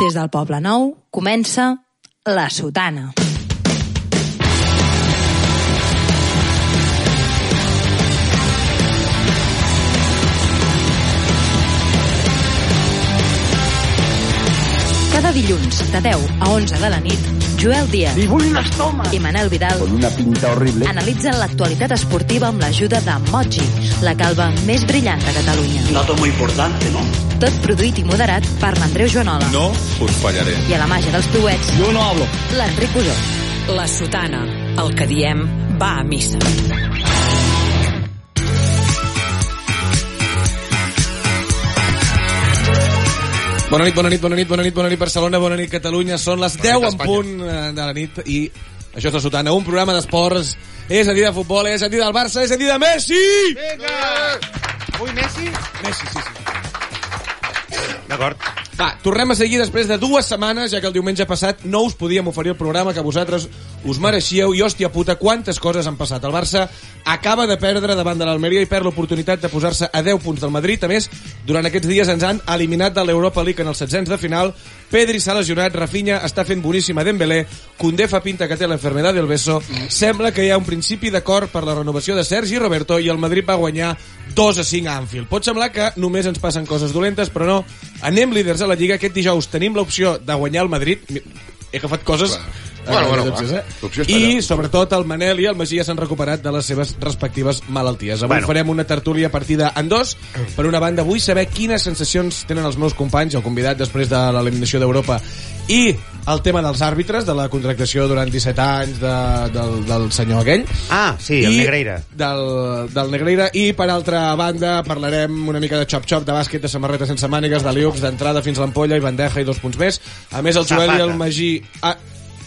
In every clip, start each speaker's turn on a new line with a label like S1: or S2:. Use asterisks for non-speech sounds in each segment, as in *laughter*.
S1: Des del Poble Nou comença La Sotana. Cada dilluns, de 10 a 11 de la nit, Joel Díaz
S2: I vull un estómac.
S1: i Manel Vidal
S2: Con una pinta horrible.
S1: analitzen l'actualitat esportiva amb l'ajuda de Moji, la calva més brillant de Catalunya.
S3: dato muy importante, ¿no?
S1: Tot produït i moderat per l'Andreu Joanola
S4: No us fallaré.
S1: i a la màgia dels piuets,
S2: Yo no hablo.
S1: l'Enric Cusó.
S5: La sotana, el que diem va a missa.
S4: Bona nit, bona nit, bona nit, bona nit, bona nit, Barcelona, bona nit, Catalunya. Són les 10 en
S6: Espanya.
S4: punt eh, de la nit i això és la sotana, un programa d'esports. És a dir de futbol, és a dir del Barça, és a dir de Messi!
S6: Ui, Messi?
S4: Messi, sí, sí.
S6: D'acord.
S4: Va, tornem a seguir després de dues setmanes, ja que el diumenge passat no us podíem oferir el programa que vosaltres us mereixíeu i, hòstia puta, quantes coses han passat. El Barça acaba de perdre davant de l'Almeria i perd l'oportunitat de posar-se a 10 punts del Madrid. A més, durant aquests dies ens han eliminat de l'Europa League en els setzents de final. Pedri s'ha lesionat, Rafinha està fent boníssima Dembélé, Condé fa pinta que té l'enfermedad del beso. Sembla que hi ha un principi d'acord per la renovació de Sergi Roberto i el Madrid va guanyar 2 a 5 a Anfield. Pot semblar que només ens passen coses dolentes, però no. Anem líders a la Lliga. Aquest dijous tenim l'opció de guanyar el Madrid. Mi- He agafat coses...
S6: Bueno, bueno,
S4: dolentes,
S6: va.
S4: eh?
S6: L'opció està
S4: I,
S6: allà.
S4: sobretot, el Manel i el Magí ja s'han recuperat de les seves respectives malalties. Avui
S6: Bueno.
S4: bueno. farem una tertúlia partida en dos. Per una banda, vull saber quines sensacions tenen els meus companys, el convidat després de l'eliminació d'Europa, i el tema dels àrbitres, de la contractació durant 17 anys de, del, del senyor aquell.
S6: Ah, sí, el Negreira.
S4: Del, del Negreira. I, per altra banda, parlarem una mica de xop-xop, de bàsquet, de samarreta sense mànigues, de liups, d'entrada fins a l'ampolla i bandeja i dos punts més. A més, el Joel i el
S6: Zapata.
S4: Magí ha,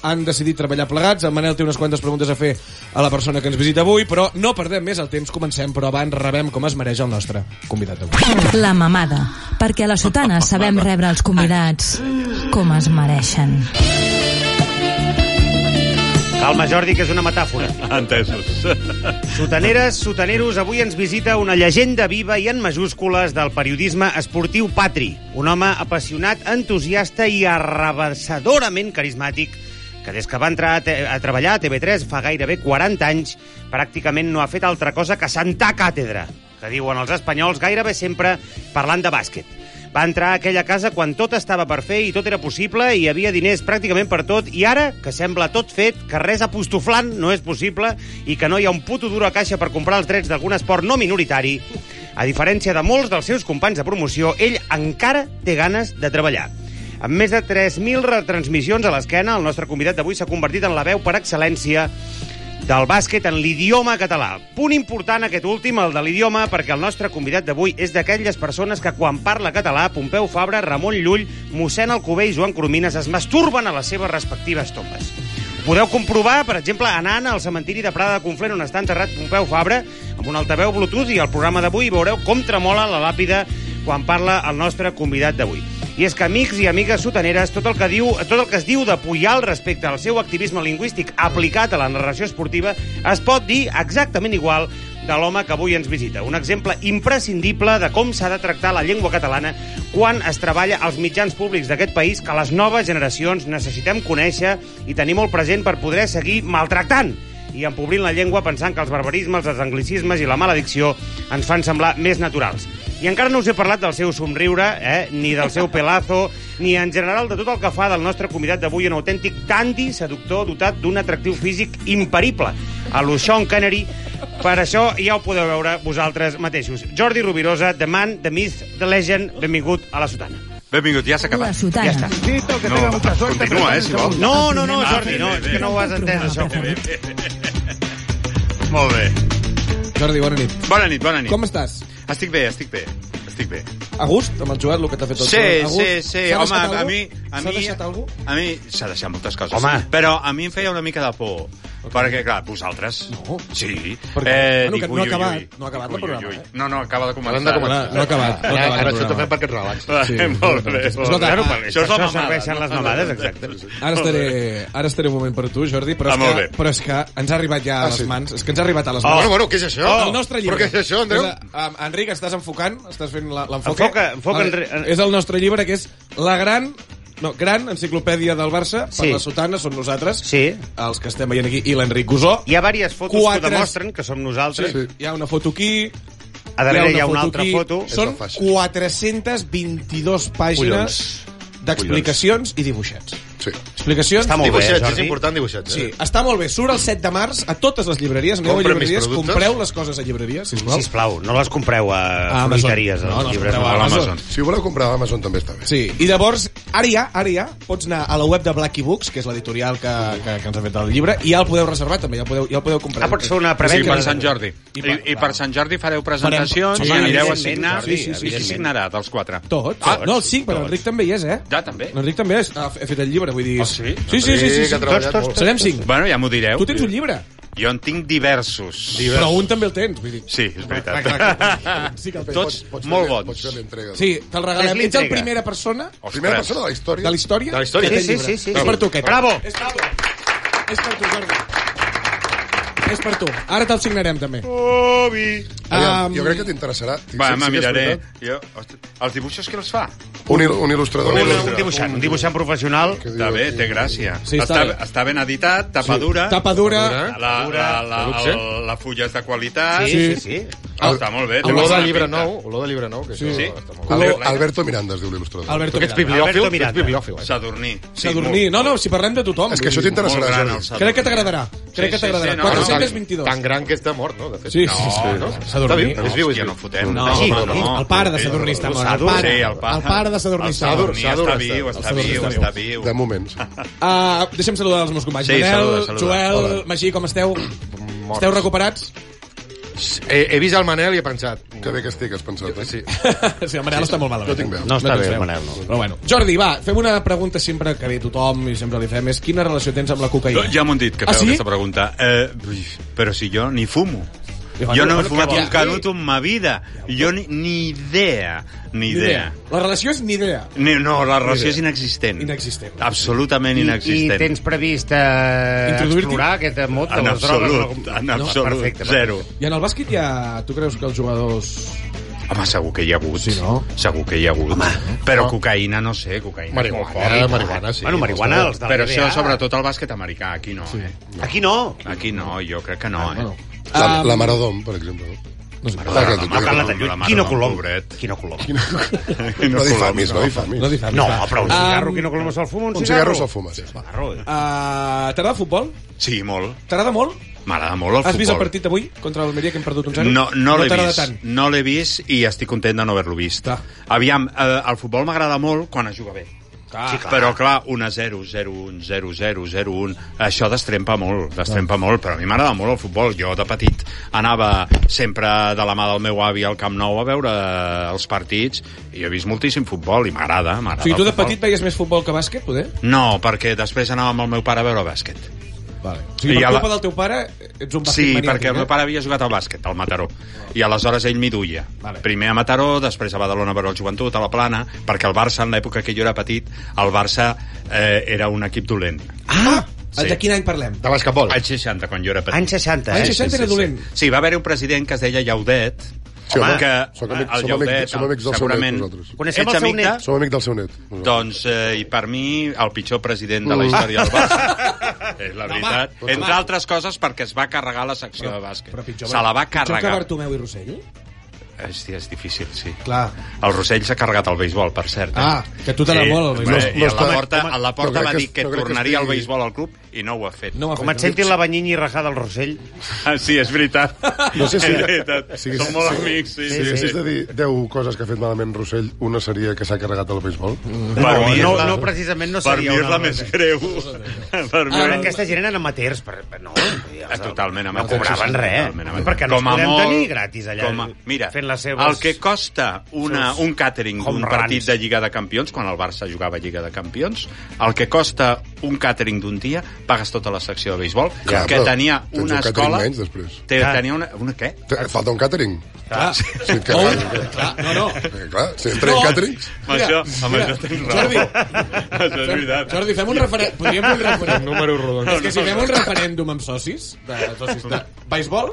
S4: han decidit treballar plegats. El Manel té unes quantes preguntes a fer a la persona que ens visita avui, però no perdem més el temps, comencem, però abans rebem com es mereix el nostre convidat d'avui.
S1: La mamada, perquè a la sotana sabem rebre els convidats com es mereixen.
S6: Calma, Jordi, que és una metàfora.
S7: Entesos.
S6: Sotaneres, sotaneros, avui ens visita una llegenda viva i en majúscules del periodisme esportiu Patri, un home apassionat, entusiasta i arrabassadorament carismàtic que des que va entrar a, te- a treballar a TV3 fa gairebé 40 anys pràcticament no ha fet altra cosa que sentar càtedra, que diuen els espanyols gairebé sempre parlant de bàsquet. Va entrar a aquella casa quan tot estava per fer i tot era possible i hi havia diners pràcticament per tot i ara, que sembla tot fet, que res apostoflant no és possible i que no hi ha un puto duro a caixa per comprar els drets d'algun esport no minoritari, a diferència de molts dels seus companys de promoció, ell encara té ganes de treballar. Amb més de 3.000 retransmissions a l'esquena, el nostre convidat d'avui s'ha convertit en la veu per excel·lència del bàsquet en l'idioma català. Punt important aquest últim, el de l'idioma, perquè el nostre convidat d'avui és d'aquelles persones que quan parla català, Pompeu Fabra, Ramon Llull, mossèn Alcubé i Joan Coromines es masturben a les seves respectives tombes. Ho podeu comprovar, per exemple, anant al cementiri de Prada de Conflent on està enterrat Pompeu Fabra amb un altaveu Bluetooth i al programa d'avui veureu com tremola la làpida quan parla el nostre convidat d'avui. I és que, amics i amigues sotaneres, tot el que, diu, tot el que es diu de Puyal respecte al seu activisme lingüístic aplicat a la narració esportiva es pot dir exactament igual de l'home que avui ens visita. Un exemple imprescindible de com s'ha de tractar la llengua catalana quan es treballa als mitjans públics d'aquest país que les noves generacions necessitem conèixer i tenir molt present per poder seguir maltractant i empobrint la llengua pensant que els barbarismes, els anglicismes i la maledicció ens fan semblar més naturals. I encara no us he parlat del seu somriure, eh, ni del seu pelazo, ni en general de tot el que fa del nostre convidat d'avui un autèntic dandy seductor dotat d'un atractiu físic imperible, a lo Sean Connery. Per això ja ho podeu veure vosaltres mateixos. Jordi Rovirosa, The Man, The Myth, The Legend, benvingut a la Sotana.
S7: Benvingut, ja s'ha
S1: La
S7: acabat.
S6: Ja
S1: sotana.
S6: està. Ah,
S7: No, continua, eh, si vol.
S6: No, no, no, Jordi, no, és que no ho has entès, això.
S7: Molt bé.
S4: Jordi, bona nit.
S7: Bona nit, bona nit.
S4: Com estàs?
S7: Estic bé, estic bé. Estic bé.
S4: a gust amb el Joel, el que t'ha fet el
S7: Sí,
S4: Joel? A gust?
S7: sí, sí.
S4: Doncs S'ha
S7: Home,
S4: deixat
S7: a
S4: algú?
S7: mi... A
S4: S'ha
S7: mi,
S4: deixat algú?
S7: a mi s'ha deixat moltes coses.
S6: Home.
S7: Però a mi em feia una mica de por. Perquè, clar, vosaltres...
S4: No.
S7: Sí. Eh,
S4: Per què? Bueno, que no ha acabat, no ha acabat el programa, eh?
S7: No, no, acaba de començar.
S2: Hem de començar.
S4: No, no ha acabat, no ha acabat
S2: Ara
S4: el
S2: això t'ho
S4: programa.
S2: fem perquè et relaxis.
S7: Va,
S4: Sí,
S7: molt bé.
S4: Escolta,
S7: Escolta,
S4: ah,
S7: això és la
S6: això
S7: mamada.
S6: serveixen les mamades, exacte.
S4: Ara estaré, ara estaré un moment per tu, Jordi, però,
S7: Ah,
S4: és
S7: molt
S4: que,
S7: bé.
S4: però és que ens ha arribat ja a
S2: Ah,
S4: les
S2: sí.
S4: mans. És que ens ha arribat a les
S2: Oh.
S4: mans.
S2: Bueno, bueno, què és això?
S4: el nostre
S2: Però
S4: llibre.
S2: què és això, Andreu?
S4: És, eh, Enric, estàs enfocant, estàs fent la- l'enfoque.
S6: Enfoca, enfoca,
S4: El-
S6: Enri- en-
S4: És el nostre llibre, que és la gran... No, gran enciclopèdia del Barça,
S6: Sí.
S4: per la sotana, són nosaltres,
S6: Sí.
S4: els que estem veient aquí, i l'Enric Gusó.
S6: Hi ha diverses fotos
S4: Quatre-
S6: que demostren que som nosaltres.
S4: Sí. Hi ha una foto aquí,
S6: A darrere hi ha una altra
S4: aquí.
S6: foto.
S2: És
S4: Són
S2: la faixa.
S4: 422 pàgines
S2: Collons.
S4: d'explicacions i dibuixets.
S2: Sí.
S4: Explicacions
S6: Està molt bé,
S2: Dibuixets, és
S6: Jordi.
S2: important dibuixets.
S4: Sí,
S2: Eh?
S4: està molt bé. Surt el 7 de març a totes les llibreries. Aneu
S2: Compra
S4: a llibreries,
S2: més productes.
S4: compreu les coses a llibreries, sisplau.
S6: Sisplau, no les compreu a,
S4: A
S6: a
S4: Amazon.
S6: fruiteries,
S4: No,
S6: els
S4: no,
S6: llibres.
S4: compreu
S6: no.
S4: a Amazon.
S2: Si ho voleu comprar a Amazon també està bé.
S4: Sí, i llavors, ara ja, ara ja, pots anar a la web de Blacky Books, que és l'editorial que, que, que ens ha fet el llibre, i ja el podeu reservar també, ja el podeu, ja el podeu comprar.
S6: Ah, pot ser una
S7: Sí,
S6: preventa.
S7: per Sant Jordi. I,
S4: I-
S7: I per Sant Jordi fareu presentacions
S4: Farem-
S7: i
S4: Home,
S7: anireu a
S4: evidentment,
S7: signar. Sí,
S4: Jordi,
S7: sí, sí. Qui
S4: evidentment.
S7: signarà dels quatre?
S4: Tot.
S7: Ah,
S4: Ah, no, el 5, però l'Enric també hi és, eh?
S7: Ja, també.
S4: L'Enric també és, ha, ha fet el llibre, vull dir...
S7: Ah, sí?
S4: Sí, sí, sí. sí,
S2: que
S4: sí,
S2: ha treballat
S6: tots,
S2: molt.
S4: Serem 5.
S7: Bueno, ja m'ho direu.
S4: Tu tens un llibre,
S7: Jo en tinc diversos.
S4: però un també el tens, vull dir...
S7: Sí, és veritat. *laughs* Ah,
S4: Sí, que el tens.
S7: Tots molt
S2: fer-li- Pots
S7: bons.
S2: fer l'entrega.
S4: Sí, te'l regalem.
S6: És
S4: Ets el
S6: l'intriga.
S4: primera persona
S2: Primera persona de la història.
S4: de la història?
S2: De la història.
S4: que té
S6: Sí, sí,
S4: llibre.
S6: sí, sí,
S4: És
S6: sí.
S4: per tu, aquest.
S6: Bravo.
S4: És per tu. És per tu, Jordi. És per tu. Ara te'l signarem, també.
S2: Aviam,
S4: Um,
S2: jo crec que t'interessarà.
S7: Va, me
S2: Sí, sí que és
S7: miraré.
S2: veritat.
S7: Jo, ostres, els dibuixos que els fa?
S2: Un, il- un il·lustrador.
S6: Un, un dibuixant, un dibuixant professional.
S2: Que diu
S7: Està bé,
S2: aquí-
S7: té gràcia.
S4: Sí, està
S7: està,
S4: bé.
S7: està ben editat, tapa dura.
S4: Tapa dura.
S7: La, la, la,
S2: luxe.
S7: la, la fulla és de qualitat.
S6: Sí, sí, sí.
S7: Ah, està molt bé. té
S2: Olor
S7: molt
S2: de
S7: bona
S2: llibre
S7: pinta.
S2: olor de llibre nou, que això
S7: Sí.
S2: està molt bé.
S7: Color-
S2: Alberto- Alberto Miranda es diu l'il·lustrador.
S4: Alberto Miranda.
S6: Alberto Miranda.
S7: Sadurní. Sí,
S4: Sadurní.
S7: molt-
S4: No, no, si parlem de tothom.
S2: És que això
S4: vull dir.
S2: t'interessarà,
S7: Molt gran,
S2: Jordi.
S7: el Sadurní.
S4: Crec que t'agradarà. Crec que
S7: sí,
S4: t'agradarà.
S7: sí, no,
S2: no,
S4: 422.
S2: Tan gran que està mort, no? De fet.
S4: Sí, sí,
S2: no,
S4: sí.
S2: No,
S4: Sadurní.
S2: Està viu, és viu, és
S7: Hòstia,
S2: viu.
S7: no fotem.
S4: No,
S6: Així,
S4: no,
S6: no.
S4: el pare de Sadurní està mort. El pare,
S7: Sí, el pare.
S4: el pare de Sadurní
S7: El
S4: està mort.
S2: Sadur.
S7: Sadurní està
S2: Sadurní
S7: viu,
S2: està
S7: està
S4: viu.
S7: viu,
S4: El Sadurní
S7: està
S4: està
S7: viu.
S2: De moment, sí.
S4: Uh, deixem saludar els meus companys.
S7: Sí,
S4: Manel,
S7: saluda, saluda.
S4: Joel,
S2: Hola.
S4: Magí, com esteu? Esteu recuperats? *laughs*
S3: He, he vist el Manel i he pensat... "Mm,
S2: Que bé que estic, has pensat. Eh? Sí.
S4: sí, el Manel està molt malament.
S2: Jo tinc veu.
S6: No està bé,
S4: tens
S6: el
S4: veu.
S6: Manel, no.
S4: Però bueno. Jordi, va, fem una pregunta sempre que ve tothom i sempre li fem, és quina relació tens amb la cocaïna?
S7: Ja m'ho han dit, que
S4: Ah,
S7: feu
S4: sí?
S7: aquesta pregunta. Eh, ui, però si jo ni fumo.
S4: Ja,
S7: Jo no he
S4: bueno,
S7: fumat
S4: què
S7: un
S4: vol
S7: canuto en ma vida. Jo ni, ni idea, ni idea. Eh,
S4: La relació és ni idea.
S7: Ni, no, la relació és inexistent.
S4: Inexistent.
S7: Absolutament
S6: I, I
S7: inexistent.
S6: tens previst eh,
S4: Introduir-t'hi?
S6: explorar aquest mot de
S7: En
S6: les drogues?
S7: absolut, en absolut.
S6: Perfecte, perfecte.
S7: Zero.
S4: I en el bàsquet ja... Tu creus que els jugadors... eh,
S7: Home, segur que hi ha hagut.
S4: Sí, no?
S7: Segur que hi ha hagut. Home, però no. cocaïna, no sé, cocaïna.
S2: Marihuana, marihuana, sí.
S6: Bueno, marihuana, els de
S7: Però això,
S6: NBA.
S7: sobretot, al bàsquet americà. Aquí no, sí. eh?
S6: Aquí no.
S7: Aquí no, jo crec que no, eh? *laughs*
S4: Bueno,
S2: La,
S4: Am-
S2: la Maradom, per exemple.
S4: um, No sé,
S2: Clar que-
S6: Ha parlat de
S7: La
S6: lluny.
S7: mare
S6: Quino
S7: d'un
S6: Colom.
S7: pobret.
S6: Quino Colom.
S2: No difamis, no difamis.
S4: no difamis,
S6: No,
S4: va.
S6: però un cigarro,
S4: Am-
S6: Quino Colom se'l fuma, un
S2: Un cigarro
S6: cigarro.
S2: se'l fuma, sí.
S6: cigarro.
S4: Ah, T'agrada el futbol?
S7: Sí, molt.
S4: T'agrada molt?
S7: M'agrada molt el
S4: Has
S7: futbol.
S4: vist el partit d'avui contra l'Almeria que hem perdut un 0?
S7: No, no l'he
S4: t'agrada
S7: vist.
S4: tant.
S7: No l'he vist i estic content de no haver-lo vist.
S4: Clar.
S7: Aviam, eh, el futbol m'agrada molt quan es juga bé.
S4: Clar.
S7: Sí, clar. Però, clar, 1 a 0, 0 1, 0 0, 0 1, això destrempa molt, destrempa molt, però a mi m'agrada molt el futbol. Jo, de petit, anava sempre de la mà del meu avi al Camp Nou a veure eh, els partits i he vist moltíssim futbol i m'agrada,
S4: O
S7: m'agrada
S4: sigui, tu
S7: el
S4: de
S7: futbol.
S4: petit veies més futbol que bàsquet, poder?
S7: No, perquè després anava amb el meu pare a veure bàsquet.
S4: Vale. O sigui,
S7: I a
S4: per
S7: la-
S4: culpa del teu pare ets un bàsquet
S7: Sí,
S4: maniàtic,
S7: perquè el meu
S4: eh?
S7: pare havia jugat al bàsquet, al Mataró, i aleshores ell m'hi duia.
S4: Vale.
S7: Primer a Mataró, després a Badalona per al Joventut, a la Plana, perquè el Barça, en l'època que jo era petit, el Barça eh, era un equip dolent.
S4: Ah!
S7: Sí.
S4: De quin any parlem?
S2: De basquetbol.
S7: Anys 60, quan jo era petit.
S6: Anys 60, eh?
S4: Anys 60 era dolent.
S7: Sí, va haver un president que es deia Llaudet,
S2: Sí, home,
S7: que eh,
S2: som amics-
S7: el
S2: som
S7: Llaudet,
S2: amics- som amics del seu net,
S7: segurament...
S2: nosaltres.
S6: Coneixem
S7: Ets
S6: el seu
S7: amic
S6: net?
S7: de-
S2: Som amic del seu net.
S7: Doncs, eh, i per mi, el pitjor president de
S4: Mm.
S7: la història del
S4: *laughs*
S7: Barça. és la veritat. Entre altres coses, perquè es va carregar la secció de bàsquet. Se la va
S4: Pitjor que
S7: carregar.
S4: Bartomeu i Rossell?
S7: Hòstia, és difícil, sí.
S4: Clar.
S7: El Rossell s'ha carregat el béisbol, per cert. Eh?
S4: Ah, que a tu t'agrada molt el béisbol.
S7: eh, I
S2: No, no
S7: a la
S2: està-
S7: porta, a la porta
S2: no crec
S7: va
S2: que-
S7: dir que
S2: no crec que
S7: tornaria al
S2: estigui-
S7: béisbol al club i no ho ha fet.
S4: No m'ha
S6: Com
S4: fet.
S6: et sentis la banyinyi rajada al Rossell?
S7: Ah, sí, és veritat.
S2: *laughs* No sé si-
S7: *laughs* És veritat.
S2: Sí, sí,
S7: Són molt
S2: sí.
S7: amics, sí,
S2: Si
S7: sí. sí,
S2: haguessis de dir 10 coses que ha fet malament Rossell, una seria que s'ha carregat el béisbol.
S7: Per
S6: No,
S7: mi és
S6: no,
S7: la-
S6: no, precisament no
S7: per mi
S6: seria
S7: és la
S6: una...
S7: més greu. *laughs* per mi...
S6: Ah, Ara, aquesta gent eren amateurs, per, per- no? dir,
S7: Eh,
S6: els del-
S7: Totalment, home,
S6: no cobraven res.
S7: Totalment, home.
S6: Perquè no els podem tenir gratis allà,
S7: Com a, mira,
S6: fent les seves-
S7: el que costa una,
S6: seus
S7: un càtering d'un
S6: home
S7: partit
S6: runs.
S7: de Lliga de Campions, quan el Barça jugava a Lliga de Campions, el que costa un càtering d'un dia, pagues tota la secció de béisbol,
S2: Clar,
S7: que
S2: però
S7: tenia
S2: tens un
S7: una
S2: càtering
S7: escola...
S2: menys després.
S7: Te,
S6: Clar.
S7: tenia una, una què?
S2: Te- Falta un càtering.
S4: Clar.
S2: Sí, que,
S4: Oh,
S2: clar,
S4: clar, no, no.
S2: eh, clar, si entren
S4: No.
S2: càterings...
S7: Amb això, amb
S4: mira,
S7: això tens raó.
S4: Jordi.
S7: això és veritat.
S4: Jordi, fem un referèndum. Podríem fer un referèndum.
S3: Número rodon.
S4: És que si fem un referèndum amb socis, de, socis de beisbol,